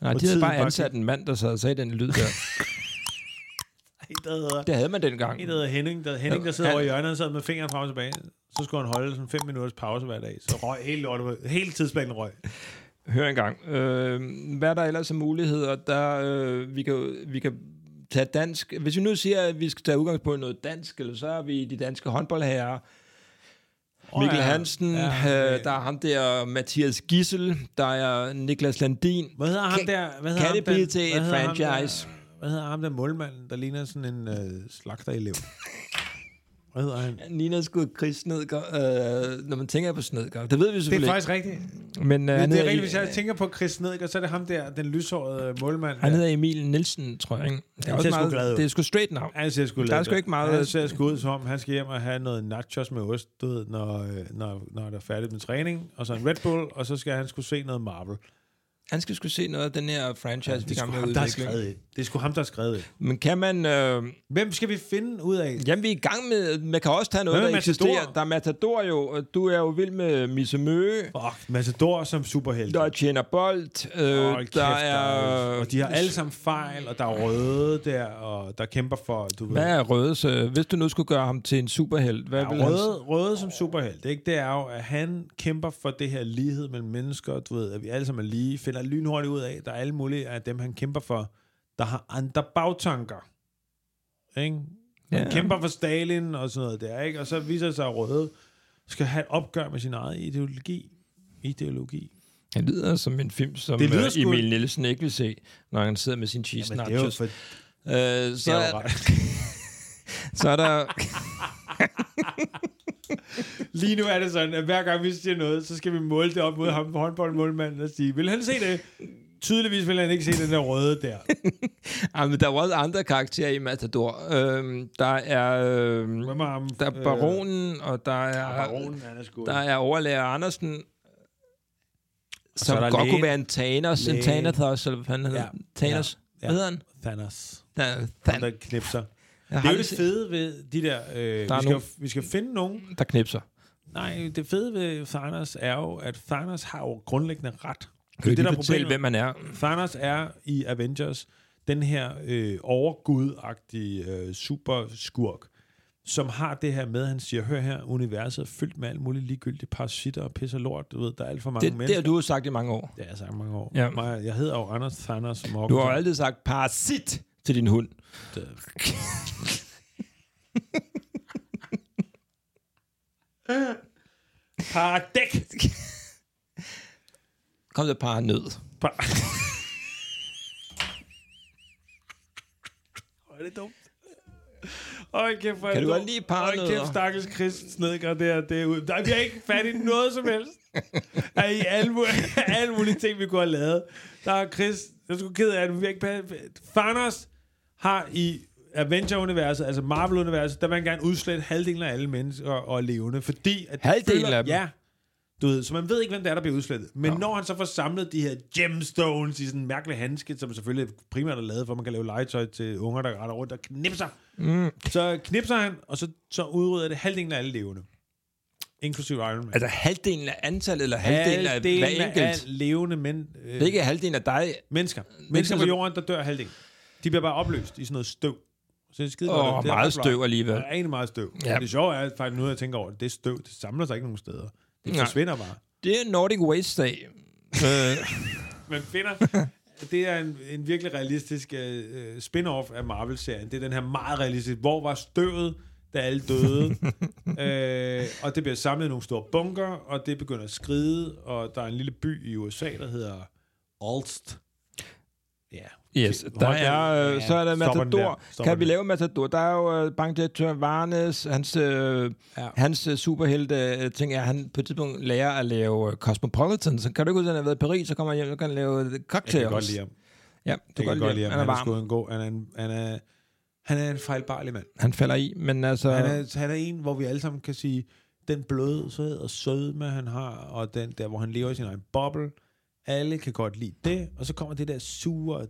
Speaker 1: de havde
Speaker 3: tiden
Speaker 1: bare
Speaker 3: bare
Speaker 1: ansat en mand, der sad og sagde den lyd der.
Speaker 3: En, der hedder,
Speaker 1: Det havde man dengang.
Speaker 3: en, der hedder Henning, der, Henning, der sidder
Speaker 1: Ja.
Speaker 3: over i hjørnet og sad med fingeren frem og tilbage. Så skulle han holde sådan fem minutters pause hver dag. Så røg hele lortet. Hele tidsplanen røg.
Speaker 1: Hør engang. Øh, hvad er der ellers af muligheder? Der, øh, vi, kan, jo- vi kan tage dansk. Hvis vi nu siger, at vi skal tage udgangspunkt i noget dansk, eller så er vi de danske håndboldherrer.
Speaker 3: Åh,
Speaker 1: Mikkel
Speaker 3: ja.
Speaker 1: Hansen,
Speaker 3: Ja,
Speaker 1: øh,
Speaker 3: okay.
Speaker 1: der er ham der, Mathias Gissel, der er Niklas Landin.
Speaker 3: Hvad hedder ham
Speaker 1: Kan-
Speaker 3: der?
Speaker 1: kan
Speaker 3: Hvad hedder ham
Speaker 1: det
Speaker 3: den-
Speaker 1: blive til
Speaker 3: hvad
Speaker 1: et
Speaker 3: hedder ham
Speaker 1: franchise?
Speaker 3: Der, hvad hedder ham der målmanden, der ligner sådan en øh, slagterelev? Hvad hedder han?
Speaker 1: Nina skud Chris Snedgaard. Øh, når man tænker på Snedgaard, det ved vi
Speaker 3: Det er
Speaker 1: selvfølgelig
Speaker 3: faktisk rigtigt.
Speaker 1: ikke. Men, øh,
Speaker 3: Det,
Speaker 1: han
Speaker 3: det er
Speaker 1: hedder-
Speaker 3: rigtigt, hvis jeg tænker på Chris Nedgaard, så er det ham der, den lyshårede målmand.
Speaker 1: Han
Speaker 3: der.
Speaker 1: hedder Emil Nielsen, tror jeg. Ikke? Det, er
Speaker 3: Han
Speaker 1: også
Speaker 3: ser sgu
Speaker 1: meget,
Speaker 3: glad ud.
Speaker 1: det er sgu straight navn.
Speaker 3: Han ser sgu
Speaker 1: Der er
Speaker 3: lidt-
Speaker 1: sgu ikke meget-
Speaker 3: Han ser sgu ud som om, han skal hjem og have noget nachos med ost, du ved, når, øh, når, når der er færdigt med træning, og så en Red Bull, og så skal han skulle se noget Marvel.
Speaker 1: Han skal sgu se noget af den her franchise, vi
Speaker 3: Det er sgu
Speaker 1: gerne
Speaker 3: ham,
Speaker 1: vil
Speaker 3: der har
Speaker 1: udvikle.
Speaker 3: skrevet det. Det er sgu ham, der har skrevet det.
Speaker 1: Men kan man... Øh,
Speaker 3: Hvem skal vi finde ud af?
Speaker 1: jamen, vi er i gang med... Man kan også tage noget,
Speaker 3: Hvad med
Speaker 1: der
Speaker 3: Matador?
Speaker 1: eksisterer. Der er Matador jo. og Du er jo vild med Misse Møge.
Speaker 3: Fuck, Matador som superhelt.
Speaker 1: Der er Tjener Bold. Øh, der
Speaker 3: Hold kæft,
Speaker 1: er...
Speaker 3: Og de har alle sammen fejl, og der er røde der, og der kæmper for, du ved.
Speaker 1: Hvad er Rødes? Øh, hvis du nu skulle gøre ham til en superhelt, hvad
Speaker 3: Ja,
Speaker 1: ville han...
Speaker 3: røde, røde som superhelt, ikke? det er jo, at han kæmper for det her lighed mellem mennesker, du ved, at vi alle sammen er lige, finder lynhurtigt ud af, der er alle mulige af dem, han kæmper for, der har andre bagtanker. Ikke? Han
Speaker 1: Ja.
Speaker 3: ja. kæmper for Stalin og sådan noget der, ikke? og så viser det sig, at røde skal have et opgør med sin egen ideologi. Ideologi.
Speaker 1: Han lyder som en film, som
Speaker 3: Det lyder
Speaker 1: øh,
Speaker 3: sgu-
Speaker 1: Emil Nielsen ikke vil se, når han sidder med sin cheese
Speaker 3: Jamen, det er jo
Speaker 1: nachos.
Speaker 3: for,
Speaker 1: Øh, så,
Speaker 3: det er jo
Speaker 1: er,
Speaker 3: ret.
Speaker 1: så er der...
Speaker 3: Lige nu er det sådan, at hver gang vi siger noget, så skal vi måle det op mod ham på håndboldmålmanden og sige, vil han se det? Tydeligvis vil han ikke se den der røde der.
Speaker 1: Ej, men der er jo også andre karakterer i Matador. Øhm, der er... Øhm,
Speaker 3: Hvem er ham?
Speaker 1: der er baronen, og der er,
Speaker 3: Øh, baronen, han Øh. er sgu.
Speaker 1: der er overlærer Andersen,
Speaker 3: så
Speaker 1: som
Speaker 3: er der
Speaker 1: godt lægen. kunne
Speaker 3: lægen.
Speaker 1: være en Thanos, en
Speaker 3: Lægen.
Speaker 1: Thanathos, eller hvad han hedder.
Speaker 3: Ja,
Speaker 1: Thanos.
Speaker 3: ja.
Speaker 1: Hvad hedder han?
Speaker 3: Thanos.
Speaker 1: Der,
Speaker 3: Ham,
Speaker 1: than,
Speaker 3: der knipser.
Speaker 1: jeg har
Speaker 3: Det er jo
Speaker 1: aldrig
Speaker 3: det
Speaker 1: set-
Speaker 3: fede ved de der... Øh,
Speaker 1: Der er
Speaker 3: vi,
Speaker 1: nogle-
Speaker 3: skal, vi skal finde nogen.
Speaker 1: der knipser.
Speaker 3: Nej, det fede ved Thanos er jo, at Thanos har jo grundlæggende ret.
Speaker 1: Kan det,
Speaker 3: det,
Speaker 1: der
Speaker 3: der er
Speaker 1: fortælle,
Speaker 3: problemet.
Speaker 1: hvem man er?
Speaker 3: Thanos er i Avengers den her øh, overgudagtige øh, superskurk, som har det her med, at han siger, hør her, universet er fyldt med alt muligt ligegyldigt parasitter og pis og lort, du ved, der er alt for mange
Speaker 1: Det, det
Speaker 3: mennesker.
Speaker 1: har du jo sagt i mange år.
Speaker 3: Det har jeg sagt mange år.
Speaker 1: Ja.
Speaker 3: Mig- Jeg hedder jo Anders Thanos Morgan.
Speaker 1: Du har jo altid sagt parasit til din hund.
Speaker 3: Paradæk!
Speaker 1: Kom der par nød.
Speaker 3: Par... Hvor er det dumt. Øj, kæft, hvor er
Speaker 1: Kan
Speaker 3: det
Speaker 1: du
Speaker 3: dumt.
Speaker 1: godt lide parnødder?
Speaker 3: Øj, kæft, stakkels Chris Snedker, det her, det er ud. Nej, vi har ikke fat i noget som helst. Er I alle, mu- alle mulige ting, vi kunne have lavet. Der er Chris, jeg er sgu ked af det, men vi har ikke passet. Thanos har i Avenger-universet, altså Marvel-universet, der vil han gerne udslette halvdelen af alle mennesker og levende, fordi... At de
Speaker 1: Halvdelen
Speaker 3: føler-
Speaker 1: af dem?
Speaker 3: Ja, du ved, så man ved ikke, hvem det er, der bliver udslettet. Men
Speaker 1: Nå.
Speaker 3: ja. når han så får samlet de her gemstones i sådan en mærkelig handske, som selvfølgelig primært er lavet for, at man kan lave legetøj til unger, der retter rundt og knipser,
Speaker 1: Mm.
Speaker 3: så knipser han, og så, så udrydder det halvdelen af alle levende. Inklusiv Iron Man.
Speaker 1: Altså halvdelen af antallet, eller halvdelen, halvdelen af hver
Speaker 3: af, af
Speaker 1: enkelt.
Speaker 3: levende men, øh,
Speaker 1: Det er ikke halvdelen af dig.
Speaker 3: mennesker.
Speaker 1: Øh, Mennesker,
Speaker 3: Mennesker på
Speaker 1: som-
Speaker 3: jorden, der dør halvdelen. De bliver bare opløst i sådan noget støv. Så det er skide
Speaker 1: Åh,
Speaker 3: godt. Det er
Speaker 1: meget
Speaker 3: ret bra.
Speaker 1: støv alligevel.
Speaker 3: Der er egentlig meget støv.
Speaker 1: Ja.
Speaker 3: Ja. Det sjove er faktisk nu, jeg tænker over det, det er støv. Det samler sig ikke nogen steder. Det
Speaker 1: Nej.
Speaker 3: forsvinder bare.
Speaker 1: Det er Nordic Waste-dag. øh,
Speaker 3: man finder... Det er en, en virkelig realistisk øh, øh, spin-off af Marvel-serien. Det er den her meget realistiske, hvor var støvet, da alle døde? øh, og det bliver samlet i nogle store bunker, og det begynder at skride, og der er en lille by i USA, der hedder Alst. Ja.
Speaker 1: Yes,
Speaker 3: Hold
Speaker 1: der
Speaker 3: da-
Speaker 1: er, øh,
Speaker 3: ja,
Speaker 1: så er der
Speaker 3: stopper den
Speaker 1: Matador.
Speaker 3: der.
Speaker 1: Der.
Speaker 3: Stopper
Speaker 1: Kan vi
Speaker 3: den.
Speaker 1: lave Matador? Der er jo øh, bankdirektør Varnes, hans, øh, ja.
Speaker 3: Ja.
Speaker 1: hans øh, superhelte øh, ting er, at han på et tidspunkt lærer at lave øh, Cosmopolitan. Så kan du ikke huske, at han har været i Paris, så kommer han hjem, og kan han lave øh,
Speaker 3: Jeg
Speaker 1: cocktails.
Speaker 3: kan godt lide ham.
Speaker 1: Ja,
Speaker 3: Du
Speaker 1: du
Speaker 3: kan
Speaker 1: kan
Speaker 3: godt lide ham.
Speaker 1: han er
Speaker 3: Han er,
Speaker 1: varm.
Speaker 3: sgu en god. Han er en, han er, han er en fejlbarlig mand.
Speaker 1: Han falder i, men altså...
Speaker 3: Han er, han er en, hvor vi alle sammen kan sige, den blødshed og sødme, han har, og den der, hvor han lever i sin egen boble, alle kan godt lide det, og så kommer det der sure,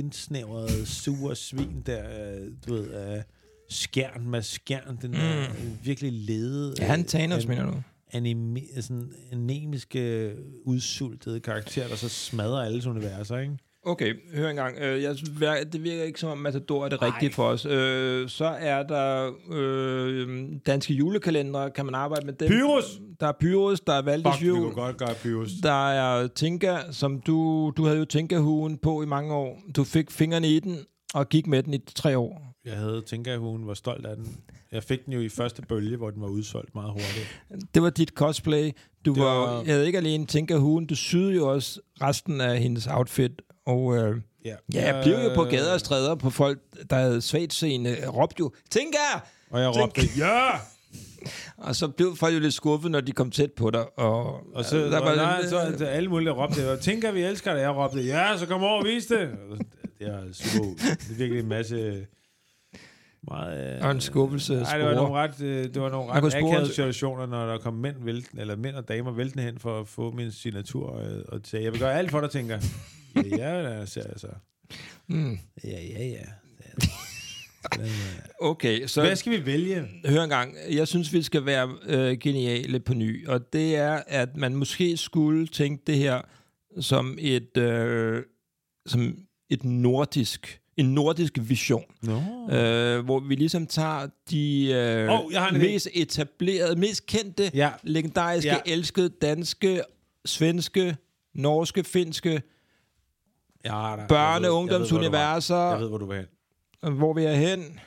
Speaker 3: indsnævrede, sure svin der, øh, du ved, af skjern med skjern, den der øh, virkelig lede,
Speaker 1: Mm. ja, han
Speaker 3: øh,
Speaker 1: Thanos,
Speaker 3: an-
Speaker 1: mener du?
Speaker 3: anime, sådan anemiske, udsultede karakter, der så smadrer alles universer, ikke?
Speaker 1: Okay, hør engang. Øh, jeg, synes, vir- det virker ikke som om Matador er det rigtige for os. Øh, så er der øh, danske julekalendere. Kan man arbejde med dem?
Speaker 3: Pyrus!
Speaker 1: Der er Pyrus, der er Valdes Jul.
Speaker 3: godt gøre Pyrus.
Speaker 1: Der er Tinka, som du... Du havde jo Tinka-huen på i mange år. Du fik fingrene i den og gik med den i tre år.
Speaker 3: Jeg havde tænker hun var stolt af den. Jeg fik den jo i første bølge, hvor den var udsolgt meget hurtigt.
Speaker 1: Det var dit cosplay. Du
Speaker 3: Det
Speaker 1: var,
Speaker 3: var-
Speaker 1: var... havde ikke alene Tinka-huen, du syede jo også resten af hendes outfit. Og øh,
Speaker 3: Ja, Øh,
Speaker 1: ja, jeg blev jo på gader og stræder på folk, der havde svagt seende, råbte jo, Tinka!
Speaker 3: Og jeg råbte, ja!
Speaker 1: Og så blev folk jo lidt skuffet, når de kom tæt på dig. Og, øh,
Speaker 3: Og så, der var nej, så, så alle mulige råbte, jeg tænker, vi elsker dig. Jeg råbte, ja, så kom over og vis det. Og Det er, super, det er virkelig en masse... Meget, øh,
Speaker 1: og en skuffelse af
Speaker 3: Nej, det var nogle
Speaker 1: spore.
Speaker 3: ret, øh, det var nogle
Speaker 1: Man
Speaker 3: ret
Speaker 1: kunne spore-
Speaker 3: akavede situationer, når der kom mænd, vælten, eller mænd og damer væltende hen for at få min signatur, øh, og sagde, jeg vil gøre alt for dig, tænker. jeg. ja, ja, ser jeg så.
Speaker 1: Mm.
Speaker 3: Ja, ja, ja.
Speaker 1: Okay, så
Speaker 3: Hvad skal vi vælge?
Speaker 1: hør en gang. Jeg synes, vi skal være øh, geniale på ny. Og det er, at man måske skulle tænke det her som et, øh, som et nordisk, en nordisk vision.
Speaker 3: Nå.
Speaker 1: øh, hvor vi ligesom tager de øh,
Speaker 3: Åh, jeg har en idé.
Speaker 1: mest etablerede, mest kendte,
Speaker 3: Ja.
Speaker 1: legendariske,
Speaker 3: Ja.
Speaker 1: elskede danske, svenske, norske, finske
Speaker 3: Ja, der,
Speaker 1: børne- og ungdomsuniverser,
Speaker 3: Jeg ved, hvor du vil hen.
Speaker 1: hvor vi er hen.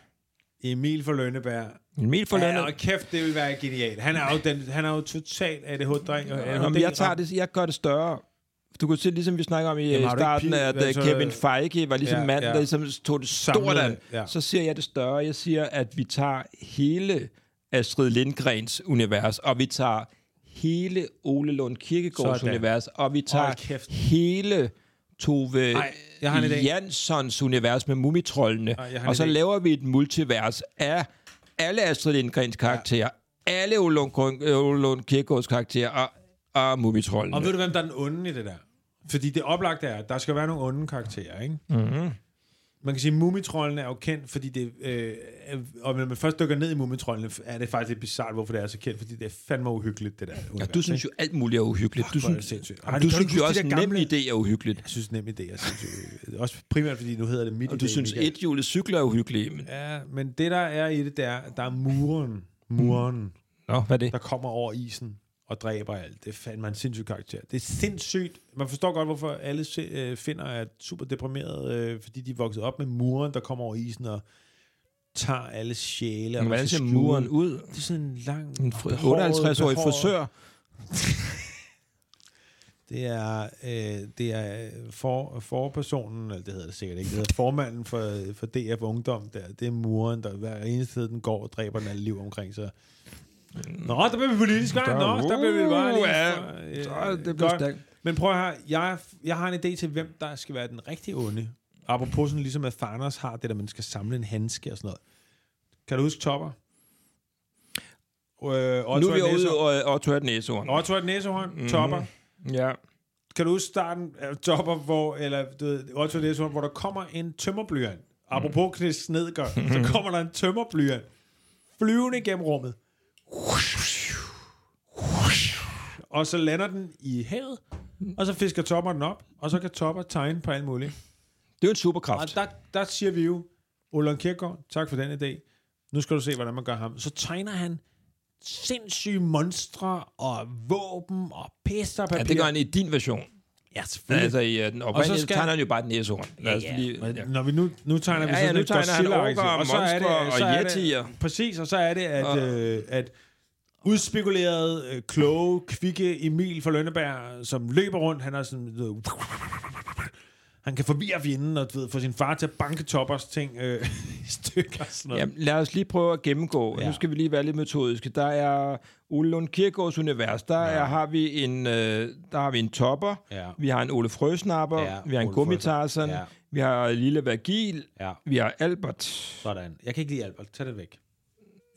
Speaker 3: Emil for Lønneberg.
Speaker 1: Emil for
Speaker 3: Ja,
Speaker 1: ja,
Speaker 3: og kæft, det vil være genialt. Han er jo, den, han er jo totalt ADHD-dreng. og
Speaker 1: Jamen, jeg, tager det, jeg gør det større. Du kunne se, ligesom vi snakker om i
Speaker 3: Jamen,
Speaker 1: Jamen,
Speaker 3: har du ikke
Speaker 1: starten,
Speaker 3: pil-
Speaker 1: at
Speaker 3: altså-
Speaker 1: altså, Kevin Feige var ligesom
Speaker 3: Ja,
Speaker 1: ja, manden,
Speaker 3: ja.
Speaker 1: der ligesom tog det stort
Speaker 3: Samlede,
Speaker 1: an.
Speaker 3: ja.
Speaker 1: Ja. Så ser jeg det større. Jeg siger, at vi tager hele Astrid Lindgrens univers, og vi tager hele Ole Lund Kirkegaards
Speaker 3: Sådan.
Speaker 1: univers, og vi tager
Speaker 3: Hold kæft.
Speaker 1: hele Tove
Speaker 3: Ej, jeg har en idé.
Speaker 1: Janssons univers med mumitrollene.
Speaker 3: Ej, jeg har en
Speaker 1: og så
Speaker 3: idé.
Speaker 1: laver vi et multivers af alle Astrid Lindgrens karakterer, alle Ole Lund Grøn- øh, Ole Lund Kirkegaards karakterer og, og mumitrollene.
Speaker 3: Og ved du, hvem der er den onde i det der? Fordi det oplagte er, at der skal være nogle onde karakterer, ikke? Mm-hmm.
Speaker 1: Mhm.
Speaker 3: Man kan sige, at mumitrollene er jo kendt, fordi det... Øh, er- og når man først dykker ned i mumitrollene, er det faktisk lidt bizarrt, hvorfor det er så kendt, fordi det er fandme uhyggeligt, det der.
Speaker 1: Ja, du synes jo, alt muligt er uhyggeligt.
Speaker 3: Fuck,
Speaker 1: du
Speaker 3: hvor er det
Speaker 1: synes,
Speaker 3: sindssygt. Ej,
Speaker 1: Ej,
Speaker 3: det
Speaker 1: du
Speaker 3: kan du
Speaker 1: synes
Speaker 3: ikke
Speaker 1: jo
Speaker 3: huske,
Speaker 1: også,
Speaker 3: de
Speaker 1: at
Speaker 3: der
Speaker 1: nem
Speaker 3: gamle-
Speaker 1: idé er uhyggeligt.
Speaker 3: Jeg synes nemlig, det er sindssygt. Også primært, fordi nu hedder det mit
Speaker 1: Og du
Speaker 3: idé,
Speaker 1: synes,
Speaker 3: Michael.
Speaker 1: ethjulet cykler er uhyggelige. Men...
Speaker 3: Ja, men det der er i det, der, er, der er muren. Muren. Mm.
Speaker 1: Nå, hvad er det?
Speaker 3: der kommer over isen og dræber alt. Det fandt man en sindssyg karakter. Det er sindssygt. Man forstår godt, hvorfor alle se, øh, finder er super deprimeret, øh, fordi de er vokset op med muren, der kommer over isen og tager alle sjæle. og
Speaker 1: Men
Speaker 3: man
Speaker 1: Hvordan
Speaker 3: skal
Speaker 1: ser
Speaker 3: skjule-
Speaker 1: muren ud?
Speaker 3: Det er sådan en lang...
Speaker 1: altså En
Speaker 3: behåret-
Speaker 1: fr- 58-årig
Speaker 3: behåret-
Speaker 1: frisør.
Speaker 3: Det er, øh, det er for, forpersonen, eller det hedder det sikkert ikke, det hedder formanden for, for DF Ungdom, der, det er muren, der hver eneste sted, den går og dræber den alle liv omkring sig. Nå, der blev vi politisk, hva'? Nå, der blev vi bare lige...
Speaker 1: Uh,
Speaker 3: øh,
Speaker 1: Ja, så det blev
Speaker 3: Godt.
Speaker 1: stærkt.
Speaker 3: Men prøv her, jeg, jeg har en idé til, hvem der skal være den rigtige onde. Apropos sådan ligesom, at Thanos har det, der man skal samle en handske og sådan noget. Kan du huske Topper? Øh,
Speaker 1: Nu
Speaker 3: Otto
Speaker 1: er vi ude Mhm. og Otto er den næsehorn.
Speaker 3: Otto er et næsehorn, mm-hmm. Topper.
Speaker 1: Ja.
Speaker 3: Kan du huske starten af Topper, hvor, eller du ved, Otto er et næsehorn, hvor der kommer en tømmerblyant? Apropos Knis Snedgaard, så kommer der en tømmerblyant flyvende gennem rummet. Og så lander den i havet, og så fisker Topper den op, og så kan Topper tegne på alt muligt.
Speaker 1: Det er jo en superkraft.
Speaker 3: Og der, der siger vi jo, Olon Kirkegaard, tak for den idé. Nu skal du se, hvordan man gør ham. Så tegner han sindssyge monstre og våben og pisse og papir.
Speaker 1: Ja, det gør han i din version.
Speaker 3: Ja, selvfølgelig.
Speaker 1: Altså i øh, den oprindelige,
Speaker 3: skal-
Speaker 1: skal... tegner han jo bare den næsehorn. Ja,
Speaker 4: ja.
Speaker 1: ja.
Speaker 3: Når vi nu, nu tegner vi
Speaker 1: Altså, Ja, ja,
Speaker 3: sådan
Speaker 1: nu
Speaker 3: et
Speaker 1: tegner han
Speaker 3: Godzilla-akse,
Speaker 1: orker og monstre og yetier.
Speaker 3: det, Præcis, og så er det, at, øh, at udspekulerede, øh, kloge, kvikke Emil fra Lønneberg, som løber rundt, han er sådan... du ved, han kan forvirre fjenden og du ved, få sin far til at banke toppers ting øh, i stykker. og Sådan noget.
Speaker 1: Jamen, lad os lige prøve at gennemgå. Ja. Nu skal vi lige være lidt metodiske. Der er Ole Lund Kirkegaards univers. Der ja. er, har vi en øh, der har vi en topper.
Speaker 3: Ja.
Speaker 1: Vi har en Ole Frøsnapper.
Speaker 3: Ja,
Speaker 1: vi har en
Speaker 3: Ole Frøsnapper.
Speaker 1: gummitarsen.
Speaker 3: Ja.
Speaker 1: Ja. Vi har Lille Vergil.
Speaker 3: Ja,
Speaker 1: Vi har Albert.
Speaker 3: sådan. Jeg kan ikke lide Albert. Tag det væk.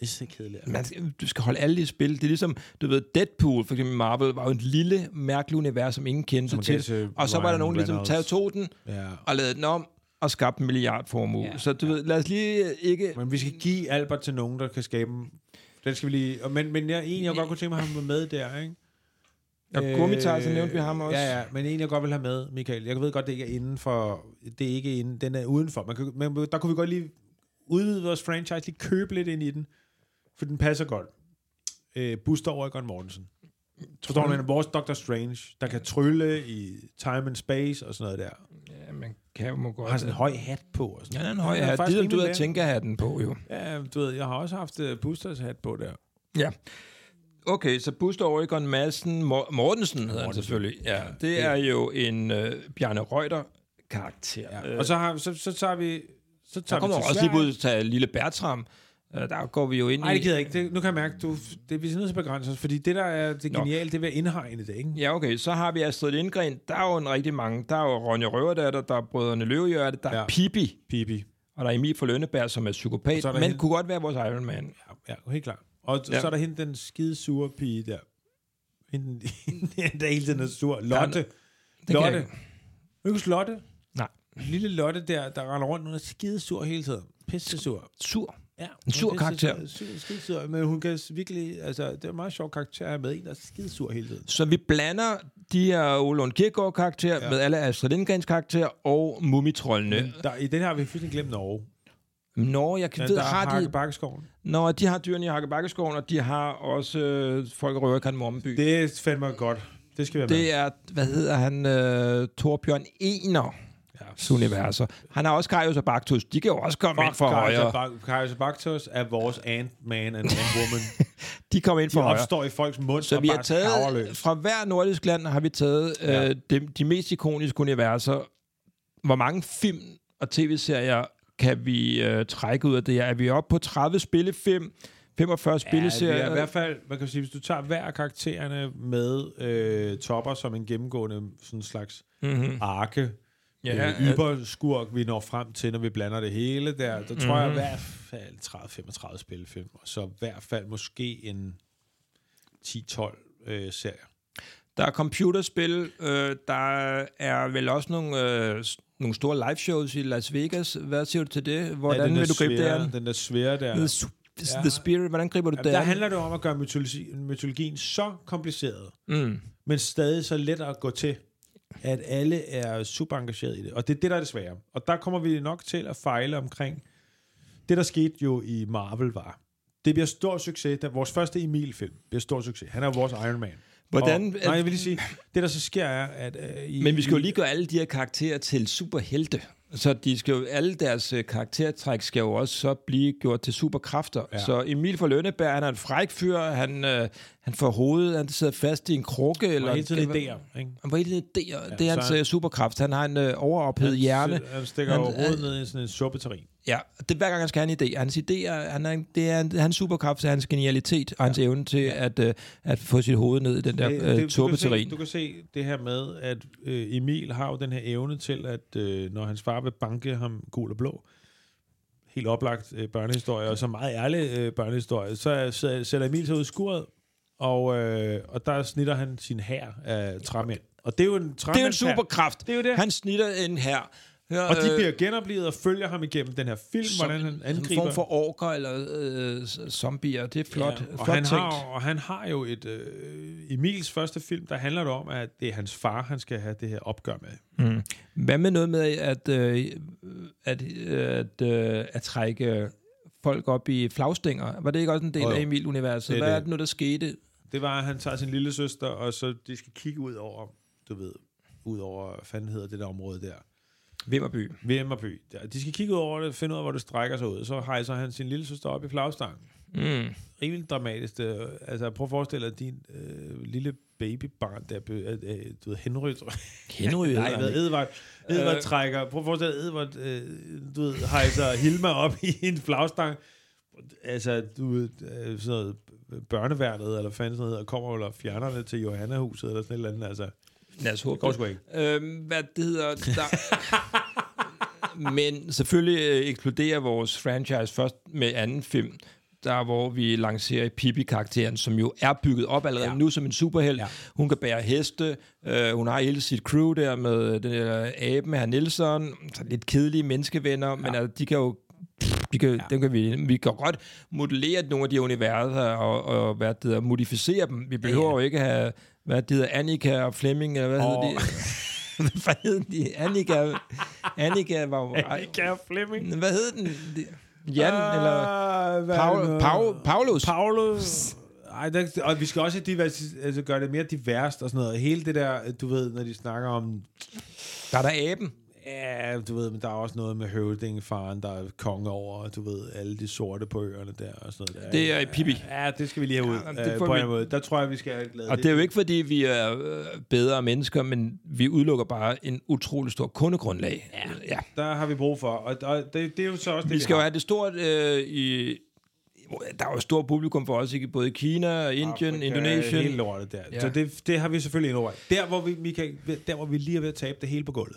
Speaker 3: Det er så kedeligt. Albert.
Speaker 1: Man, skal- du skal holde alle i spil. Det er ligesom, du ved, Deadpool, for eksempel i Marvel, var jo et lille, mærkeligt univers, som ingen kendte
Speaker 3: Som
Speaker 1: til.
Speaker 3: gav til
Speaker 1: og så var der
Speaker 3: Ryan
Speaker 1: nogen, der ligesom tav
Speaker 3: Reynolds.
Speaker 1: tog den
Speaker 3: Ja.
Speaker 1: og lavede den om og skabte en milliardformue.
Speaker 3: Ja.
Speaker 1: så du ved, lad os lige øh, ikke...
Speaker 3: Men vi skal give Albert til nogen, der kan skabe dem. Den skal vi lige... og- Men, men jeg, en, jeg godt kunne tænke mig at have med der, ikke?
Speaker 1: Og Gummitar, så nævnte vi ham også.
Speaker 3: Øh, Ja, ja, men en, jeg godt vil have med, Michael. Jeg ved godt, det ikke er inden for... Det er ikke inden, den er udenfor. Man kan, men der kunne vi godt lige udvide vores franchise, lige købe lidt ind i den, for den passer godt. Øh, Buster Oregon Mortensen. Forstår du, hvad jeg mener? vores Doctor Strange, der kan trylle i time and space og sådan noget der.
Speaker 1: Ja, man kan jo må
Speaker 3: Og
Speaker 1: godt...
Speaker 3: har sådan en høj hat på og sådan
Speaker 1: Ja, den er en høj
Speaker 3: Han er
Speaker 1: hat.
Speaker 3: faktisk
Speaker 1: Det er du
Speaker 3: rimelig
Speaker 1: ved
Speaker 3: lav.
Speaker 1: at tænke at have den på, jo.
Speaker 3: Ja, du ved, jeg har også haft øh, Busters hat på der.
Speaker 1: Ja. Okay, så Buster Oregon Madsen Mor- Mortensen hedder han selvfølgelig. Ja, det er jo en øh, Bjarne Reuter karakter. Ja.
Speaker 3: Ja. Og så, har, så, så tager vi... Så
Speaker 1: Der
Speaker 3: tager vi
Speaker 1: kommer
Speaker 3: til
Speaker 1: også lige
Speaker 3: Sverige.
Speaker 1: ud til Lille Bertram. Øh, Der går vi jo ind
Speaker 3: Nej, det
Speaker 1: i...
Speaker 3: gider jeg ikke. Det, nu kan jeg mærke, du, det bliver nødt til at begrænse os, fordi det, der er det
Speaker 1: Nå.
Speaker 3: geniale, det er ved at indhegne det, ikke?
Speaker 1: Ja, okay. Så har vi Astrid Lindgren. Der er jo en rigtig mange. Der er jo Ronja Røverdatter, der er Brødrene Løvehjørte, der er
Speaker 3: Ja.
Speaker 1: ja. Pippi,
Speaker 3: Pibi.
Speaker 1: og der er Emil fra Lønneberg, som er psykopat,
Speaker 3: så er der
Speaker 1: men
Speaker 3: hende-
Speaker 1: kunne godt være vores Iron Man.
Speaker 3: Ja, ja, helt klart. Og ja.
Speaker 1: Ja.
Speaker 3: så er der hende, den skide sure pige der. Hende, hende der hele tiden er sur. Lotte.
Speaker 1: kan jeg
Speaker 3: Lotte.
Speaker 1: ikke.
Speaker 3: Kan jeg huske Lotte?
Speaker 1: Nej.
Speaker 3: Lille Lotte der, der render rundt, hun er skide sur hele tiden. Pisse sur.
Speaker 1: Sur.
Speaker 3: Ja,
Speaker 1: En sur
Speaker 3: hun er pisse
Speaker 1: karakter.
Speaker 3: Sur, skide sur, men hun kan virkelig, altså, det er en meget sjov karakter at have med, en der er skide sur hele tiden.
Speaker 1: Så vi blander de her Ole Lund Kirkegaard karakterer ja. med alle Astrid Lindgrens karakterer og mumitrollene.
Speaker 3: Der, I den her har vi fuldstændig glemt Norge.
Speaker 1: Nå, jeg kan
Speaker 3: Den
Speaker 1: ved,
Speaker 3: der
Speaker 1: har de...
Speaker 3: Bakkeskoven.
Speaker 1: Nå, de har dyrene i Hakkebakkeskoven, og de har også øh, folk røver kan Mormeby. Det,
Speaker 3: Det er fandme godt. Det skal vi have med.
Speaker 1: det er, hvad hedder han, øh, Torbjørn Ener.
Speaker 3: Ja.
Speaker 1: universer. Han har også Kajus og Baktus. De kan jo også komme ind fra højre.
Speaker 3: Kajsa Baktos er vores Ant-Man and Ant-Woman.
Speaker 1: De kommer ind
Speaker 3: De
Speaker 1: fra højre.
Speaker 3: opstår i folks mund
Speaker 1: Så
Speaker 3: og
Speaker 1: vi
Speaker 3: bare
Speaker 1: har taget,
Speaker 3: skaverløs.
Speaker 1: fra hver nordisk land har vi taget
Speaker 3: Ja.
Speaker 1: øh, de, de mest ikoniske universer. Hvor mange film og tv-serier kan vi øh, trække ud af det her? Er vi oppe på 30 spillefilm, 45
Speaker 3: Ja, det
Speaker 1: spilleserier?
Speaker 3: er i hvert fald, man kan sige, hvis du tager hver af karaktererne med øh, topper som en gennemgående sådan slags
Speaker 1: mm-hmm.
Speaker 3: arke,
Speaker 1: Ja,
Speaker 3: ja, øh, yberskurk, vi når frem til, når vi blander det hele der, der
Speaker 1: Mhm.
Speaker 3: tror jeg i hvert fald 30-35 spillefilm, og så i hvert fald måske en 10-12 øh, serier.
Speaker 1: Der er computerspil, øh, der er vel også nogle, øh, s- nogle store live shows i Las Vegas. Hvad siger du til det? Hvordan
Speaker 3: den der
Speaker 1: vil du gribe det
Speaker 3: svære-
Speaker 1: an?
Speaker 3: Den der svære der.
Speaker 1: The, s- the Spirit, hvordan griber du
Speaker 3: Jamen,
Speaker 1: det
Speaker 3: der
Speaker 1: an?
Speaker 3: handler det om at gøre mytologi, mytologien så kompliceret,
Speaker 1: Mm.
Speaker 3: men stadig så let at gå til, at alle er super engageret i det. Og det er det, der er det svære. Og der kommer vi nok til at fejle omkring. Det, der skete jo i Marvel, var, det bliver stor succes. Da vores første Emil-film bliver stor succes. Han er jo vores Iron Man.
Speaker 1: Hvordan-
Speaker 3: Og, nej, jeg vil lige sige, det der så sker er, at... Øh, i,
Speaker 1: Men vi skal jo
Speaker 3: i-
Speaker 1: lige gøre alle de her karakterer til superhelte. Så de skal jo, alle deres øh, karaktertræk skal jo også så blive gjort til superkræfter.
Speaker 3: Ja.
Speaker 1: Ja. Så Emil fra Lønneberg, han er en fræk fyr, han, øh, han får hovedet, han sidder fast i en krukke.
Speaker 3: Og
Speaker 1: Eller
Speaker 3: hele tiden
Speaker 1: en-
Speaker 3: idéer, ikke?
Speaker 1: Han får hele tiden idéer. Ja, det
Speaker 3: så
Speaker 1: er hans
Speaker 3: han- øh,
Speaker 1: øh, superkraft. Han har en øh, overophedet hjerne.
Speaker 3: Han stikker
Speaker 1: Han-
Speaker 3: jo
Speaker 1: han-
Speaker 3: hovedet ned i sådan en suppeterrin.
Speaker 1: Ja, og det, hver gang han skal have en idé. Hans idéer, han er, en- det er en, hans superkraft, er hans genialitet og hans evne til at, øh, at få sit hoved ned i den der
Speaker 3: Det-
Speaker 1: øh,
Speaker 3: det- du, kan se,
Speaker 1: turbeterrin.
Speaker 3: du kan se det her med, at øh, Emil har jo den her evne til, at øh, når hans far vil banke ham gul og blå, helt oplagt øh, børnehistorie, og så meget ærlig øh, børnehistorie, så er- så sætter Emil sig ud i skuret, og, øh, og der snitter han sin hær af træmænd. Og det er jo en
Speaker 1: Det er jo
Speaker 3: træmændshær.
Speaker 1: en superkraft.
Speaker 3: Det er jo det.
Speaker 1: Han snitter en her. Hør,
Speaker 3: og de
Speaker 1: øh,
Speaker 3: bliver genoplevet og følger ham igennem den her film,
Speaker 1: som
Speaker 3: hvordan han
Speaker 1: en
Speaker 3: angriber.
Speaker 1: form for orker eller øh, s- zombier. Det er flot, ja,
Speaker 3: og,
Speaker 1: flot
Speaker 3: han
Speaker 1: tænkt.
Speaker 3: har, og han har jo et... Øh, Emils første film, der handler det om, at det er hans far, han skal have det her opgør med.
Speaker 1: Hvad med noget med at, øh, at, øh, at, øh, at trække folk op i flagstænger? Var det ikke også en del
Speaker 3: Jo, jo.
Speaker 1: af Emil-universet?
Speaker 3: Det er
Speaker 1: Hvad er
Speaker 3: det.
Speaker 1: det nu, der skete?
Speaker 3: Det var, at han tager sin lille søster, og så de skal kigge ud over, du ved, ud over, hvad fanden hedder det der område der,
Speaker 1: Vimmerby.
Speaker 3: Vemmerby. Der. De skal kigge ud over det, finde ud af, hvor det strækker sig ud. Så hejser han sin lille søster op i flagstangen.
Speaker 1: Mm.
Speaker 3: Rimelig dramatisk. Det, altså, prøv at forestille dig, at din øh, lille babybarn, der blev, øh, øh, du ved, henrygt.
Speaker 1: Henry
Speaker 3: Nej, hvad
Speaker 1: Nej,
Speaker 3: Edvard, Edvard øh. trækker. Prøv at forestille dig, at Edvard, øh, du ved, hejser Hilma op i en flagstang. Altså, du ved, øh, sådan noget børneværnet, eller fanden sådan noget, hedder, kommer eller fjerner det til Johanna-huset, eller sådan et eller andet, altså.
Speaker 1: Lad os håbe
Speaker 3: går sgu ikke.
Speaker 1: Øhm, hvad det hedder... Der... Men selvfølgelig øh, eksploderer vores franchise først med anden film, der hvor vi lancerer Pippi-karakteren, som jo er bygget op allerede ja. nu som en superhelt. Ja. Hun kan bære heste, øh, hun har hele sit crew der med øh, den der aben her Nielsen, så lidt kedelige menneskevenner, ja. men altså, de kan jo vi kan, ja. dem kan vi, vi kan godt modellere nogle af de universer og, og hvad det hedder, modificere dem. Vi behøver ja. jo ikke have, hvad det hedder, Annika og Flemming, eller hvad oh.
Speaker 3: Og-
Speaker 1: hedder de? hvad hed de? Annika, Annika var jo...
Speaker 3: Annika Flemming.
Speaker 1: Hvad hed den? Jan, uh, eller...
Speaker 3: Ah, hvad er det
Speaker 1: Paul,
Speaker 3: nu?
Speaker 1: Paul, Paulus?
Speaker 3: Paulus. Ej, der, og vi skal også divers, altså, gøre det mere diverst og sådan noget. Hele det der, øh, du ved, når de snakker om...
Speaker 1: der er der aben.
Speaker 3: Ja, du ved, men der er også noget med høvdingfaren, der er konge over, og du ved, alle de sorte på øerne der og sådan noget. Der.
Speaker 1: Det er i Pippi.
Speaker 3: Ja, det skal vi lige have ud
Speaker 1: Ja,
Speaker 3: ja,
Speaker 1: det
Speaker 3: øh,
Speaker 1: får
Speaker 3: på en
Speaker 1: vi-
Speaker 3: måde. Der tror jeg, vi skal have glæde.
Speaker 1: Og det er jo ikke, fordi vi er øh, bedre mennesker, men vi udelukker bare en utrolig stor kundegrundlag. Ja. ja.
Speaker 3: Der har vi brug for, og, og det, det er jo så også det,
Speaker 1: Vi skal jo
Speaker 3: har.
Speaker 1: have det stort øh, i... Der er jo et stort publikum for os, ikke? både i Kina, Indien,
Speaker 3: Afrika,
Speaker 1: Indonesien.
Speaker 3: Hele lortet der.
Speaker 1: Ja.
Speaker 3: Ja. Så det, det har vi selvfølgelig indover. Der, hvor vi, Michael, der, hvor vi lige er ved at tabe det hele på gulvet.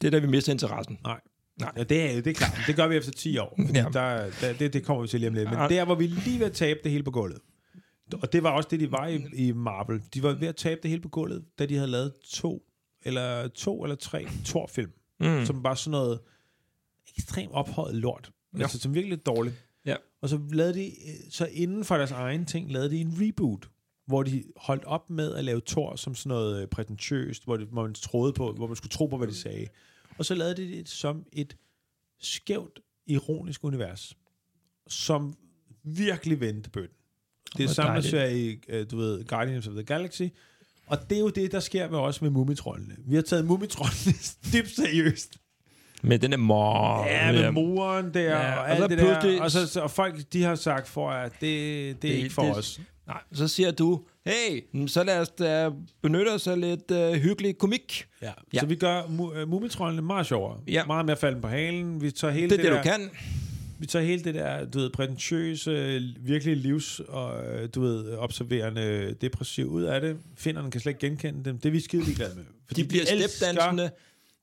Speaker 1: Det er der, vi mister interessen.
Speaker 3: Nej.
Speaker 1: Nej.
Speaker 3: Nej. Ja, det, er, det er klart. Men Det gør vi efter 10 år. Fordi
Speaker 1: Ja.
Speaker 3: ja. der, der, det, det kommer vi til lige om lidt. Men
Speaker 1: Ja.
Speaker 3: der, hvor vi lige ved at tabe det hele på gulvet. Og det var også det, de var i, i Marvel. De var ved at tabe det hele på gulvet, da de havde lavet to eller to eller tre Thor-film, mm. som var sådan noget ekstremt ophøjet lort. Ja. Altså, som virkelig dårligt.
Speaker 1: Ja.
Speaker 3: Og så lavede de, øh, så inden for deres egen ting, lavede de en reboot, hvor de holdt op med at lave Thor som sådan noget øh, prætentiøst, hvor, det, hvor man troede på, hvor man skulle tro på, hvad de sagde. Og så lavede de det som et skævt, ironisk univers, som virkelig vendte bøtten. Det er
Speaker 1: Hvor
Speaker 3: samme, der
Speaker 1: dejligt.
Speaker 3: ser i, øh, du ved, Guardians of the Galaxy, og det er jo det, der sker med os med mumitrollene. Vi har taget mumitrollene dybt seriøst.
Speaker 1: Men den er mor... øh,
Speaker 3: Ja, med moren der,
Speaker 1: Ja,
Speaker 3: ja,
Speaker 1: og
Speaker 3: og alt
Speaker 1: så
Speaker 3: det der.
Speaker 1: pludselig-
Speaker 3: Og, så, så, og folk, de har sagt for, at det, det, det er ikke for
Speaker 1: det-
Speaker 3: det, os.
Speaker 1: Nej, så siger du, hey, mm, så lad os da benytte os af lidt øh, hyggelig komik.
Speaker 3: Ja.
Speaker 1: Ja.
Speaker 3: Så vi gør mu- øh, mumitrollene meget sjovere.
Speaker 1: Ja.
Speaker 3: Meget mere falden på halen. Vi tager hele
Speaker 1: Det er
Speaker 3: det,
Speaker 1: det, det du
Speaker 3: der,
Speaker 1: kan.
Speaker 3: Vi tager hele det der, du ved, prætentiøse, virkelig livs, og øh, du ved, observerende, depressiv ud af det. Finderne kan slet ikke genkende dem. Det er vi skide ligeglade med. Fordi
Speaker 1: De bliver stepdansende.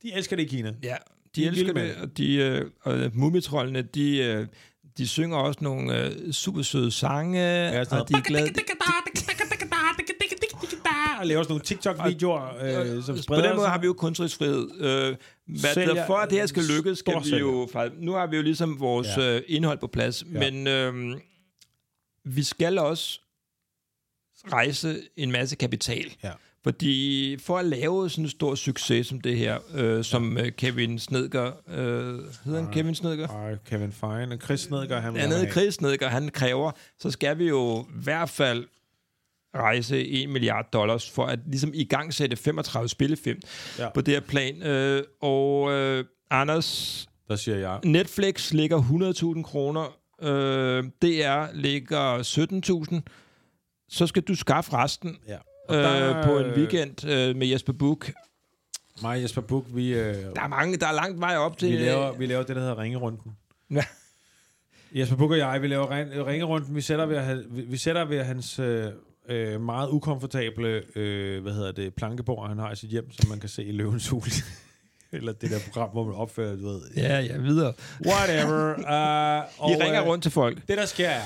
Speaker 3: De elsker det i Kina.
Speaker 1: Ja, de,
Speaker 3: De er
Speaker 1: elsker
Speaker 3: vilde med
Speaker 1: det, og de øh, og mumitrollene, de, øh, de synger også nogle øh, super søde sange, ja,
Speaker 3: sådan
Speaker 1: og de er glade.
Speaker 3: Og laver sådan nogle TikTok-videoer, øh, som
Speaker 1: På
Speaker 3: spreder
Speaker 1: den måde
Speaker 3: sig.
Speaker 1: har vi jo kunstnerisk frihed. Øh, hvad
Speaker 3: Sælger-
Speaker 1: der, for at det her skal lykkes, skal vi
Speaker 3: Storsælger.
Speaker 1: jo... fakt- Nu har vi jo ligesom vores ja.
Speaker 3: Ja.
Speaker 1: øh, indhold på plads, ja.
Speaker 3: Ja.
Speaker 1: men øh, vi skal også rejse en masse kapital.
Speaker 3: Ja.
Speaker 1: Fordi for at lave sådan en stor succes som det her, øh, som øh, Kevin Snedger... Øh, hedder han Kevin Snedger?
Speaker 3: Og Kevin Fein og Chris Snedger, han
Speaker 1: andet
Speaker 3: vil gerne
Speaker 1: andet
Speaker 3: have.
Speaker 1: krigsnedgør, han kræver, så skal vi jo i hvert fald rejse 1 milliard dollars for at ligesom i gang sætte 35 spillefilm ja.
Speaker 3: Ja.
Speaker 1: på det her plan. Øh, og øh, Anders,
Speaker 3: Der siger jeg,
Speaker 1: Netflix ligger 100.000 kroner, øh, DR ligger 17.000, så skal du skaffe resten
Speaker 3: Ja.
Speaker 1: øh,
Speaker 3: Og der-
Speaker 1: på en weekend øh, med Jesper Buch.
Speaker 3: mig og Jesper Buch, vi, øh,
Speaker 1: Der er, mange, der er langt vej op til... øh,
Speaker 3: vi, laver, vi laver det, der hedder ringerunden.
Speaker 1: Ja.
Speaker 3: Jesper Buch og jeg, vi laver ren- ringerunden. Vi sætter ved, han- vi, vi sætter ved hans øh, øh, meget ukomfortable øh, hvad hedder det, plankebord, han har i sit hjem, som man kan se i Løvens Hul. Eller det der program, hvor man opfører, du ved.
Speaker 1: Ja, ja, videre.
Speaker 3: Whatever. Uh, og,
Speaker 1: Vi ringer
Speaker 3: øh,
Speaker 1: rundt til folk.
Speaker 3: Det, der sker, er,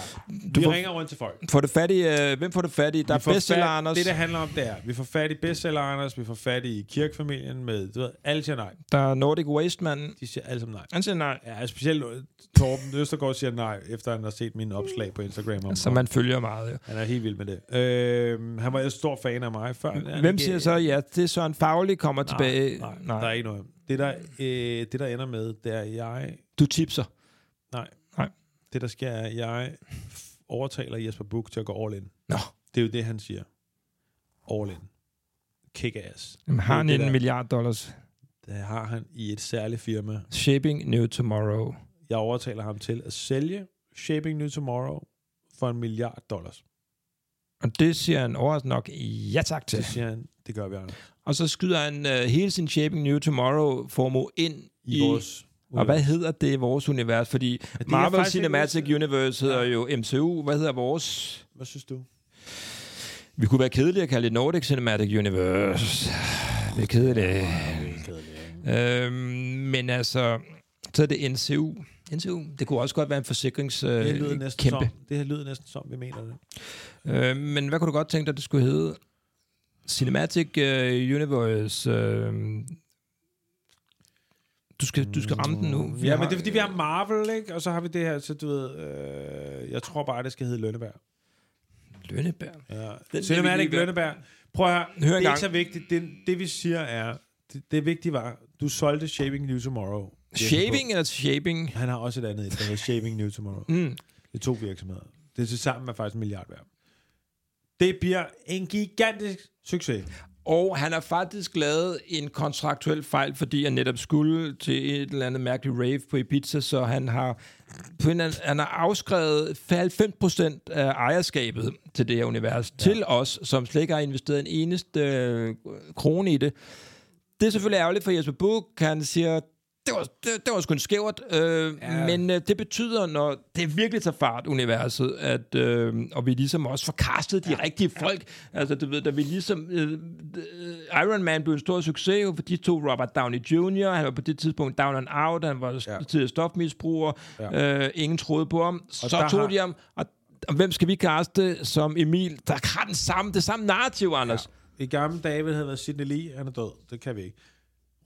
Speaker 1: Du
Speaker 3: vi
Speaker 1: får-
Speaker 3: ringer rundt til folk.
Speaker 1: Får det fat i, øh, hvem får det fat i? Der
Speaker 3: Vi
Speaker 1: er
Speaker 3: får
Speaker 1: bestseller
Speaker 3: fat-
Speaker 1: Anders.
Speaker 3: Det, det handler om, det er, vi får fat i bestseller Anders, vi får fat i kirkefamilien med, du ved, alle siger nej.
Speaker 1: Der er Nordic Waste manden.
Speaker 3: De siger alle sammen nej.
Speaker 1: Han siger nej.
Speaker 3: Ja, specielt øh, Torben Østergaard siger nej, efter han har set mine opslag på Instagram. Om
Speaker 1: Som man følger meget. Jo.
Speaker 3: Han er helt vild med det. Øh, han var en stor fan af mig før. Han er
Speaker 1: Hvem
Speaker 3: ikke-
Speaker 1: siger så, ja, det er Søren Fagli kommer nej, tilbage?
Speaker 3: Nej, nej, der er ikke noget. Det der, øh, det, der ender med, det er, at jeg...
Speaker 1: Du tipser.
Speaker 3: Nej.
Speaker 1: Nej.
Speaker 3: Det, der sker, er, at jeg f- overtaler Jesper Buch til at gå all in.
Speaker 1: Nå,
Speaker 3: Det er jo det, han siger. All in. Kick ass.
Speaker 1: jamen, har han
Speaker 3: Det er
Speaker 1: en
Speaker 3: det der.
Speaker 1: milliard dollars?
Speaker 3: Det har han i et særligt firma.
Speaker 1: Shaping New Tomorrow.
Speaker 3: Jeg overtaler ham til at sælge Shaping New Tomorrow for en milliard dollars.
Speaker 1: Og det siger han overraskende nok ja tak til.
Speaker 3: Det siger han, det gør vi, Anders.
Speaker 1: Og så skyder han øh, hele sin Shaping New Tomorrow-formue ind
Speaker 3: I, I vores...
Speaker 1: Og hvad hedder det vores univers? Fordi
Speaker 3: det er
Speaker 1: Marvel
Speaker 3: faktisk ikke
Speaker 1: Cinematic
Speaker 3: udsat.
Speaker 1: Universe hedder jo MCU. Hvad hedder vores?
Speaker 3: Hvad synes du?
Speaker 1: Vi kunne være kedelige at kalde det øh, Nordic Cinematic Universe. Det er kedeligt. Øhm, Men altså, så er det NCU. NCU, det kunne også godt være en forsikringskæmpe.
Speaker 3: Det her lyder
Speaker 1: Øh,
Speaker 3: næsten
Speaker 1: kæmpe.
Speaker 3: som, det her lyder næsten som, vi mener det.
Speaker 1: Øh, men hvad kunne du godt tænke dig, det skulle hedde? Cinematic øh, Universe. Øh, du, skal, du skal ramme den nu.
Speaker 3: Ja, men det er fordi, vi
Speaker 1: øh,
Speaker 3: har Marvel, ikke? Og så har vi det her, så du ved... Øh, jeg tror bare, det skal hedde Lønneberg.
Speaker 1: Lønnebær.
Speaker 3: Ja.
Speaker 1: Den
Speaker 3: Selvom
Speaker 1: vil vi
Speaker 3: det
Speaker 1: lige
Speaker 3: Lønneberg. Prøv at høre,
Speaker 1: Hør
Speaker 3: det er
Speaker 1: en
Speaker 3: ikke
Speaker 1: gang.
Speaker 3: så vigtigt. Det, det vi siger er, det, det vigtige var, du solgte Shaping New Tomorrow.
Speaker 1: Shaving eller shaping?
Speaker 3: Han har også et andet, et, der hedder Shaping New Tomorrow.
Speaker 1: Mm.
Speaker 3: Det er to virksomheder. Det er til sammen er faktisk en milliard værd. Det bliver en gigantisk succes.
Speaker 1: Og han har faktisk lavet en kontraktuel fejl, fordi han netop skulle til et eller andet mærkeligt rave på Ibiza, så han har, på en, eller anden- han har afskrevet 90% af ejerskabet til det her univers, ja. til os, som slet ikke har investeret en eneste øh, krone i det. Det er selvfølgelig ærgerligt for Jesper Buch, han siger, det var, det, det var sgu en skævert, øh, ja. men øh, det betyder, når det virkelig tager fart, universet, at, øh, og vi ligesom også får kastet de ja. rigtige folk, altså du ved, da vi ligesom, øh, øh, Iron Man blev en stor succes, jo, for de to Robert Downey Jr., han var på det tidspunkt down and out, han var ja. tidligere stofmisbruger, ja. øh, ingen troede på ham, og så
Speaker 3: der
Speaker 1: tog
Speaker 3: har-
Speaker 1: har... de ham, og, og hvem skal vi kaste som Emil, der har den samme, det samme narrativ, Anders. Ja.
Speaker 3: I gamle dage ville det have været Sidney Lee, han er død. Det kan vi ikke.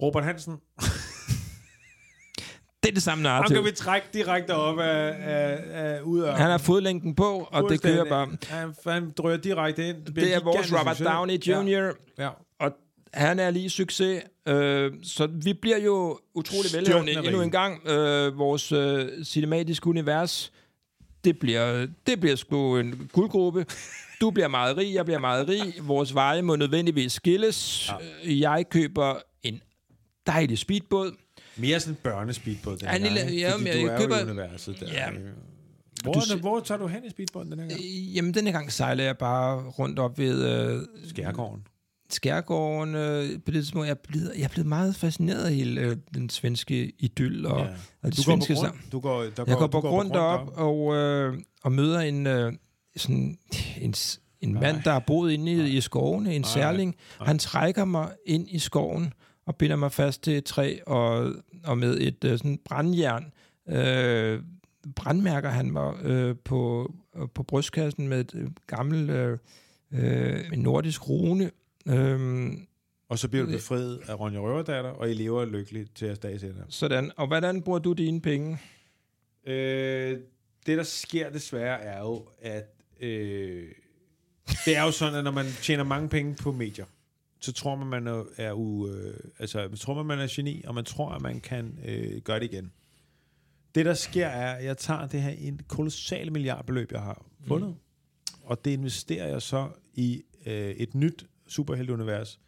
Speaker 3: Robert Hansen,
Speaker 1: Det er det samme
Speaker 3: ham
Speaker 1: narrativ.
Speaker 3: kan vi trække direkte op af, af, af ud af.
Speaker 1: Han har fodlænken på, og det kører bare.
Speaker 3: Han, han drøjer direkte ind. bliver
Speaker 1: Det er
Speaker 3: en
Speaker 1: vores
Speaker 3: gigantisk
Speaker 1: Robert
Speaker 3: succes.
Speaker 1: Downey Jr., ja.
Speaker 3: Ja. ja.
Speaker 1: og han er lige succes. Øh, så vi bliver jo utrolig
Speaker 3: Stjernrig.
Speaker 1: velhavende endnu en gang. Øh, vores øh, cinematiske univers, det bliver, det bliver sgu en guldgruppe. Du bliver meget rig, jeg bliver meget rig. Vores veje må nødvendigvis skilles. Ja. Jeg køber en dejlig speedbåd.
Speaker 3: Mere sådan en børnespeedbåd den
Speaker 1: Ja, en
Speaker 3: her,
Speaker 1: lille-
Speaker 3: ikke?
Speaker 1: ja,
Speaker 3: Fordi
Speaker 1: men
Speaker 3: du
Speaker 1: jeg
Speaker 3: er
Speaker 1: køber-
Speaker 3: jo i universet der.
Speaker 1: Ja.
Speaker 3: Hvor,
Speaker 1: Du se-
Speaker 3: hvor tager du hen i speedbåden den her gang?
Speaker 1: Jamen, denne gang sejler jeg bare rundt op ved øh,
Speaker 3: Skærgården.
Speaker 1: skærgården øh, på det tidspunkt. Jeg er blevet, jeg er blevet meget fascineret af hele øh, den svenske idyll og, ja. og det
Speaker 3: Du går på
Speaker 1: svenske
Speaker 3: grund.
Speaker 1: sammen.
Speaker 3: Du går, der
Speaker 1: Jeg går
Speaker 3: går, du
Speaker 1: på grund derop og, øh, og møder en, øh, sådan, en, s- en mand, der har boet inde i, i skovene, en særling. Han trækker mig ind i skoven og binder mig fast til et træ og, og med et øh, sådan brandjern. Øh, brandmærker han mig øh, på, på brystkassen med et øh, gammelt øh, øh, en nordisk rune. Øh,
Speaker 3: Og så bliver du befriet af Ronja Røverdatter, og I lever lykkeligt til jeres dags ende.
Speaker 1: sådan. Og hvordan bruger du dine penge?
Speaker 3: Øh, det, der sker desværre, er jo, at øh, det er jo sådan, at når man tjener mange penge på medier, så tror man, man er, er u, øh, altså, man tror man, man er geni, og man tror, at man kan øh, gøre det igen. Det, der sker, er, at jeg tager det her en kolossal milliardbeløb, jeg har fundet, mm. og det investerer jeg så i øh, et nyt superhelteunivers,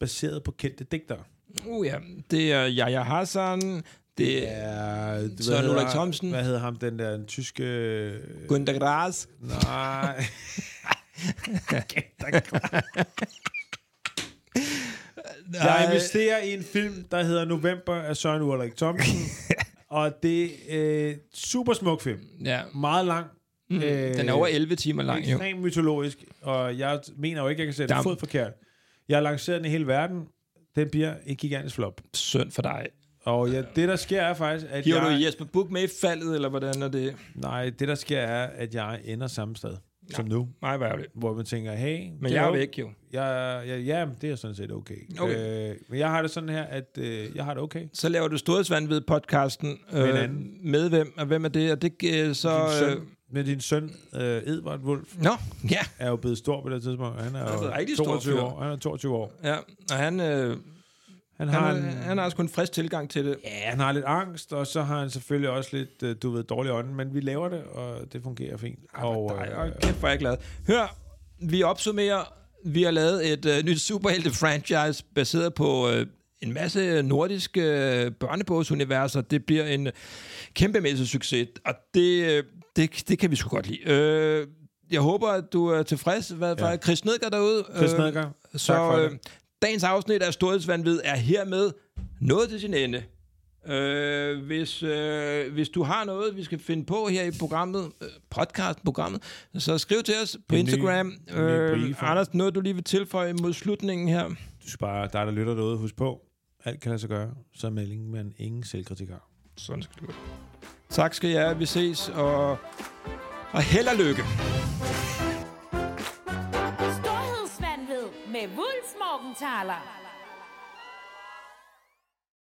Speaker 3: baseret på kendte digtere.
Speaker 1: Uh ja, det er Jaja Hassan, det er
Speaker 3: Ja, hvad
Speaker 1: Søren
Speaker 3: hedder-
Speaker 1: Ulrik Thomsen.
Speaker 3: Hvad hedder ham, den der den tyske... øh,
Speaker 1: Günther Grass.
Speaker 3: Nej. jeg investerer i en film, der hedder November af Søren Ulrik Thomsen. og det er øh, super smuk film.
Speaker 1: Ja,
Speaker 3: Meget lang. Mm, øh,
Speaker 1: Mhm. Den er over 11 timer lang, jo.
Speaker 3: Ekstremt mytologisk, og jeg mener jo ikke, jeg kan sætte
Speaker 1: Dam.
Speaker 3: fod forkert. Jeg har lanceret den i hele verden. Den bliver et gigantisk flop.
Speaker 1: Synd for dig.
Speaker 3: Og ja, det, der sker, er faktisk, at
Speaker 1: Giver
Speaker 3: jeg...
Speaker 1: du Jesper Buch med i faldet, eller hvordan er det?
Speaker 3: Nej, det, der sker, er, at jeg ender samme sted som nu.
Speaker 1: Nej, hvor ærgerligt.
Speaker 3: Hvor man tænker, hey...
Speaker 1: Men jeg er væk, jo.
Speaker 3: Jeg, jeg, ja, men det er sådan set okay.
Speaker 1: Okay.
Speaker 3: Øh, men jeg har det sådan her, at øh, jeg har det okay.
Speaker 1: Så laver du Storhedsvandved-podcasten.
Speaker 3: Med en
Speaker 1: øh,
Speaker 3: anden.
Speaker 1: med hvem? Og hvem er det? Og det øh, så...
Speaker 3: Din
Speaker 1: Øh,
Speaker 3: søn, men din søn, øh, Edvard Wolf,
Speaker 1: nå, ja.
Speaker 3: er jo blevet stor på det tidspunkt. Han er,
Speaker 1: er blevet
Speaker 3: jo
Speaker 1: rigtig stor
Speaker 3: 22
Speaker 1: fyr.
Speaker 3: år. Han er 22 år.
Speaker 1: ja. Og han, øh,
Speaker 3: Han
Speaker 1: han,
Speaker 3: har,
Speaker 1: har,
Speaker 3: han, en,
Speaker 1: han har også kun en frisk tilgang til det.
Speaker 3: ja, han har lidt angst, og så har han selvfølgelig også lidt, øh, du ved, dårlig ånden, men vi laver det, og det fungerer fint.
Speaker 1: Og, øh,
Speaker 3: og, øh,
Speaker 1: og kæft, hvor er jeg glad. Hør, vi opsummerer. Vi har lavet et øh, nyt superhelte-franchise baseret på øh, en masse nordiske øh, børnebogsuniverser. Det bliver en kæmpemæssig succes, og det, øh, det, det kan vi sgu godt lide. Øh, jeg håber, at du er tilfreds. Hvad ja. Chris Nedgaard derude?
Speaker 3: Chris
Speaker 1: Øh,
Speaker 3: Nedgaard, tak for
Speaker 1: Så øh,
Speaker 3: det.
Speaker 1: dagens afsnit af Storhedsvandvid er hermed nået til sin ende. Øh, hvis, øh, hvis du har noget, vi skal finde på her i programmet, øh, podcasten-programmet, så skriv til os på
Speaker 3: En ny-
Speaker 1: Instagram.
Speaker 3: en ny
Speaker 1: øh,
Speaker 3: briefer.
Speaker 1: Anders, noget du lige vil tilføje mod slutningen her?
Speaker 3: du skal bare, der er der lytter derude, husk på, Alt kan lade sig gøre, så er meldingen, men ingen selvkritik har.
Speaker 1: Sådan skal det gå. Tak skal jeg. Vi ses, og, og held og lykke.
Speaker 4: Storhedsvandvid med Wulfs Morgenthaler.